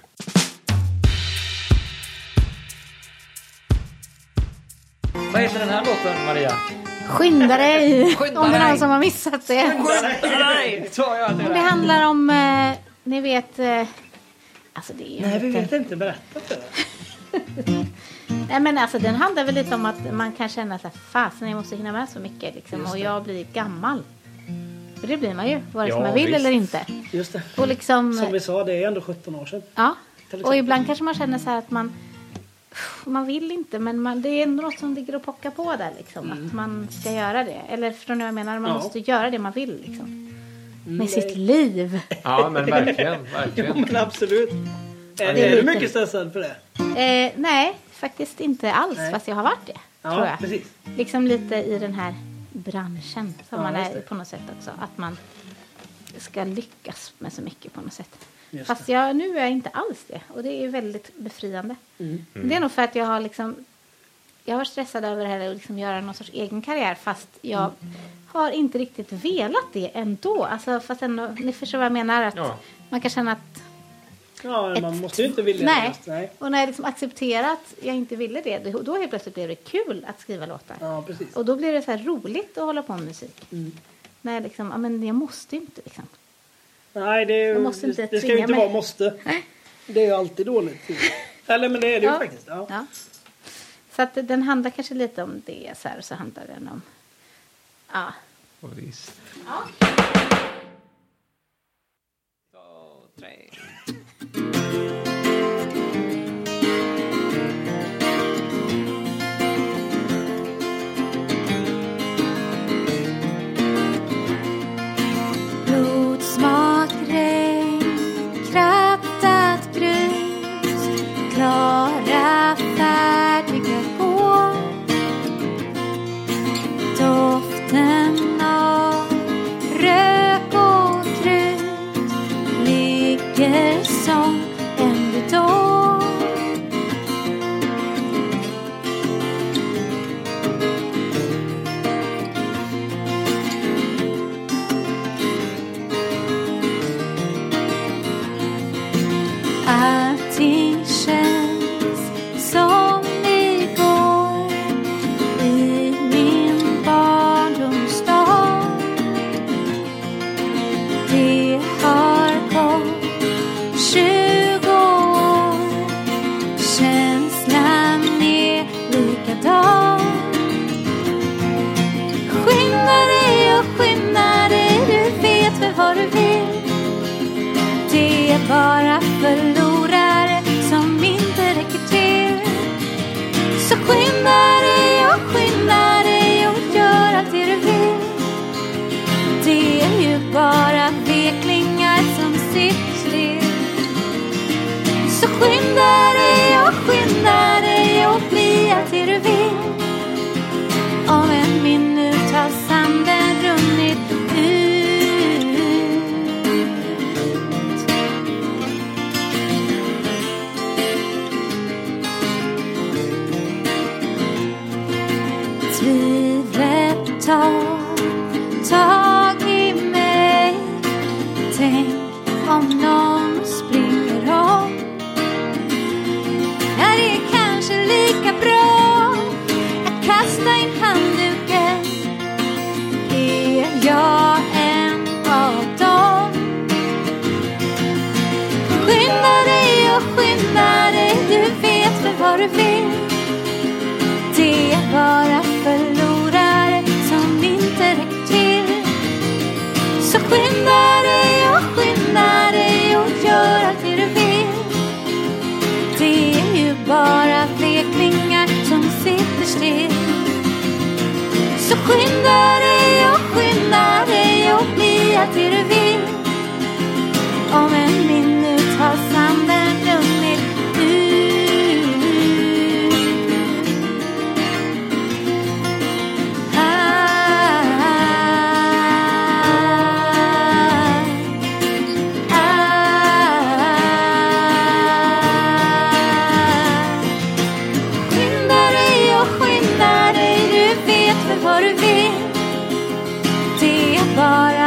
Speaker 1: Vad heter den här låten, Maria?
Speaker 4: Skynda dig!
Speaker 1: Skynda
Speaker 4: om det är
Speaker 1: dig!
Speaker 4: någon som har missat det.
Speaker 1: Nej, tar jag
Speaker 4: Det
Speaker 1: det.
Speaker 4: handlar om, eh, ni vet... Eh, alltså det är ju
Speaker 2: Nej, vi
Speaker 4: lite-
Speaker 2: vet inte. Berätta för det.
Speaker 4: Nej men alltså den handlar väl lite om att man kan känna så här, fasen jag måste hinna med så mycket liksom, och jag blir gammal. För det blir man ju, vare sig
Speaker 1: Ja,
Speaker 4: man vill
Speaker 1: visst.
Speaker 4: eller inte.
Speaker 2: Just det.
Speaker 4: Och liksom...
Speaker 2: Som vi sa, det är ändå 17 år sedan.
Speaker 4: Ja,
Speaker 2: exempel.
Speaker 4: och ibland kanske man känner så här att man man vill inte, men man, det är ändå något som ligger och pockar på där. Liksom, Att man ska göra det. Eller förstår ni vad jag menar?
Speaker 2: Mm.
Speaker 4: Man
Speaker 2: Ja. Mm.
Speaker 4: måste göra det man vill. Liksom. Med sitt liv.
Speaker 1: Ja, men verkligen,
Speaker 2: Jo,
Speaker 1: verkligen.
Speaker 2: men absolut. Eh, Är,
Speaker 4: det är
Speaker 2: är du
Speaker 4: lite-
Speaker 2: mycket stressad för det?
Speaker 4: Eh, nej, faktiskt inte alls.
Speaker 2: Nej.
Speaker 4: Fast jag har varit det.
Speaker 2: Ja,
Speaker 4: tror jag.
Speaker 2: precis.
Speaker 4: Liksom lite i den här branschen som
Speaker 2: Ja,
Speaker 4: man
Speaker 2: just
Speaker 4: är
Speaker 2: det.
Speaker 4: i på något sätt också. Att man ska lyckas med så mycket på något sätt.
Speaker 2: Just
Speaker 4: Fast jag, nu är jag inte alls det. Och det är ju väldigt befriande.
Speaker 2: Mm.
Speaker 4: Det är nog för att jag har liksom jag var stressad över det här att liksom göra någon sorts egen karriär fast jag
Speaker 2: Mm.
Speaker 4: har inte riktigt velat det ändå. Alltså, fast ändå, ni förstår vad jag menar? Att
Speaker 1: Ja.
Speaker 4: Man kan känna att
Speaker 2: Ja,
Speaker 4: ett-
Speaker 2: man måste ju inte vilja
Speaker 4: nej.
Speaker 2: det. Nej.
Speaker 4: Och när jag liksom accepterade att jag inte ville det, då- då helt plötsligt blev det kul att skriva låtar.
Speaker 2: Ja, precis.
Speaker 4: Och då blir det så här roligt att hålla på med musik.
Speaker 2: Mm.
Speaker 4: När jag liksom, ja men jag måste ju inte liksom.
Speaker 2: Nej, det, är ju,
Speaker 4: Jag måste inte
Speaker 2: det, det ska ju
Speaker 4: tvinga
Speaker 2: inte
Speaker 4: mig.
Speaker 2: vara måste. Det är ju alltid dåligt. Eller men det är det ju
Speaker 4: Ja.
Speaker 2: faktiskt. Ja.
Speaker 4: Ja. Så att den handlar kanske lite om det så här, och så handlar den om, ja.
Speaker 1: Och visst.
Speaker 3: Blodsmak, regn, krattat grus Klara, färdiga hår Doften av rök och krut Ligger som en ridå Allting känns som igår i min barndomsdag. Det har gått 20 år. Känslan är likadan. Skynda dig och skynda dig, du vet väl vad du vill. Det är bara förlorare som inte räcker till. Så skynda dig och skynda dig och gör allt det du vill. Det är ju bara veklingar som sitter still. Så skynda dig och skynda dig och bli allt det du vill. Om en minut har sanden runnit ut. Tvivlet tar tag i mig Tänk om någon springer om Ja, det är kanske lika bra att kasta in handduken Är jag en av dem? Skynda dig och skynda dig, du vet väl vad du vill det är bara förlorare som inte räcker till. Så skynda dig och skynda dig och gör allt det du vill. Det är ju bara veklingar som sitter still. Så skynda dig och skynda dig och bli allt det du vill. Om en minut har sanden runnit ut. Skynda dig och skynda dig, du vet väl vad du vill. Ah.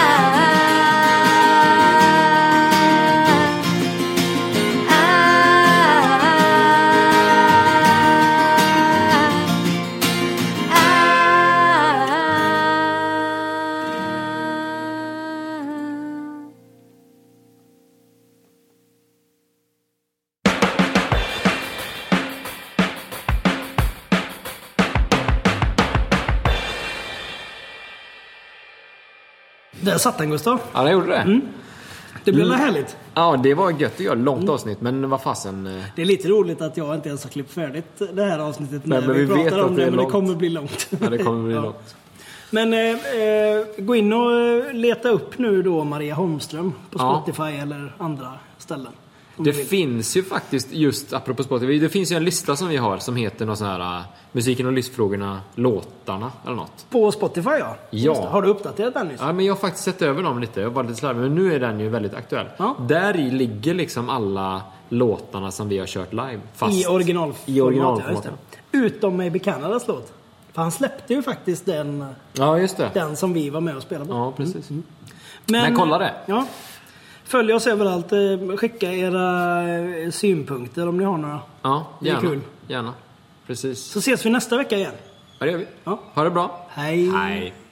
Speaker 3: Ah, ah, ah.
Speaker 2: Där satt den Gustav.
Speaker 1: Ja, den gjorde det.
Speaker 2: Det
Speaker 1: Mm.
Speaker 2: blir väl härligt.
Speaker 1: Ja, det var gött att göra. Långt avsnitt, men vad fasen. eh,
Speaker 2: Det är lite roligt att jag inte ens har klippt färdigt det här avsnittet
Speaker 1: Nej,
Speaker 2: när
Speaker 1: men
Speaker 2: vi,
Speaker 1: vi vet
Speaker 2: pratar
Speaker 1: att
Speaker 2: om
Speaker 1: det
Speaker 2: det,
Speaker 1: är
Speaker 2: men det
Speaker 1: långt.
Speaker 2: kommer bli långt.
Speaker 1: Ja, det kommer bli
Speaker 2: Ja.
Speaker 1: långt.
Speaker 2: Men eh, eh, gå in och eh, leta upp nu då Maria Holmström på
Speaker 1: Ja.
Speaker 2: Spotify eller andra ställen. om
Speaker 1: Det
Speaker 2: du vill.
Speaker 1: finns ju faktiskt, just apropå Spotify, det finns ju en lista som vi har som heter någon sån här eh, Musiken och listfrågorna, låtarna eller något.
Speaker 2: På Spotify ja.
Speaker 1: Ja.
Speaker 2: Just det. Har du uppdaterat den nyss?
Speaker 1: Ja, men jag har faktiskt sett över dem lite. Jag var lite slarvig, men nu är den ju väldigt aktuell.
Speaker 2: Ja.
Speaker 1: Där i ligger liksom alla låtarna som vi har kört live. Fast
Speaker 2: I originalformat.
Speaker 1: I originalformat.
Speaker 2: ja, just det. Utom Maybe Canadas låt. För han släppte ju faktiskt den,
Speaker 1: Ja, just det.
Speaker 2: den som vi var med och spelade på.
Speaker 1: Ja, precis.
Speaker 2: Mm,
Speaker 1: Men kolla det.
Speaker 2: Ja. Följ oss överallt. eh, Skicka era eh, synpunkter om ni har några.
Speaker 1: Ja,
Speaker 2: Det är
Speaker 1: gärna.
Speaker 2: kul.
Speaker 1: Gärna. Precis.
Speaker 2: Så ses vi nästa vecka igen.
Speaker 1: Ja, det gör vi.
Speaker 2: Ja.
Speaker 1: Ha det bra. Hej.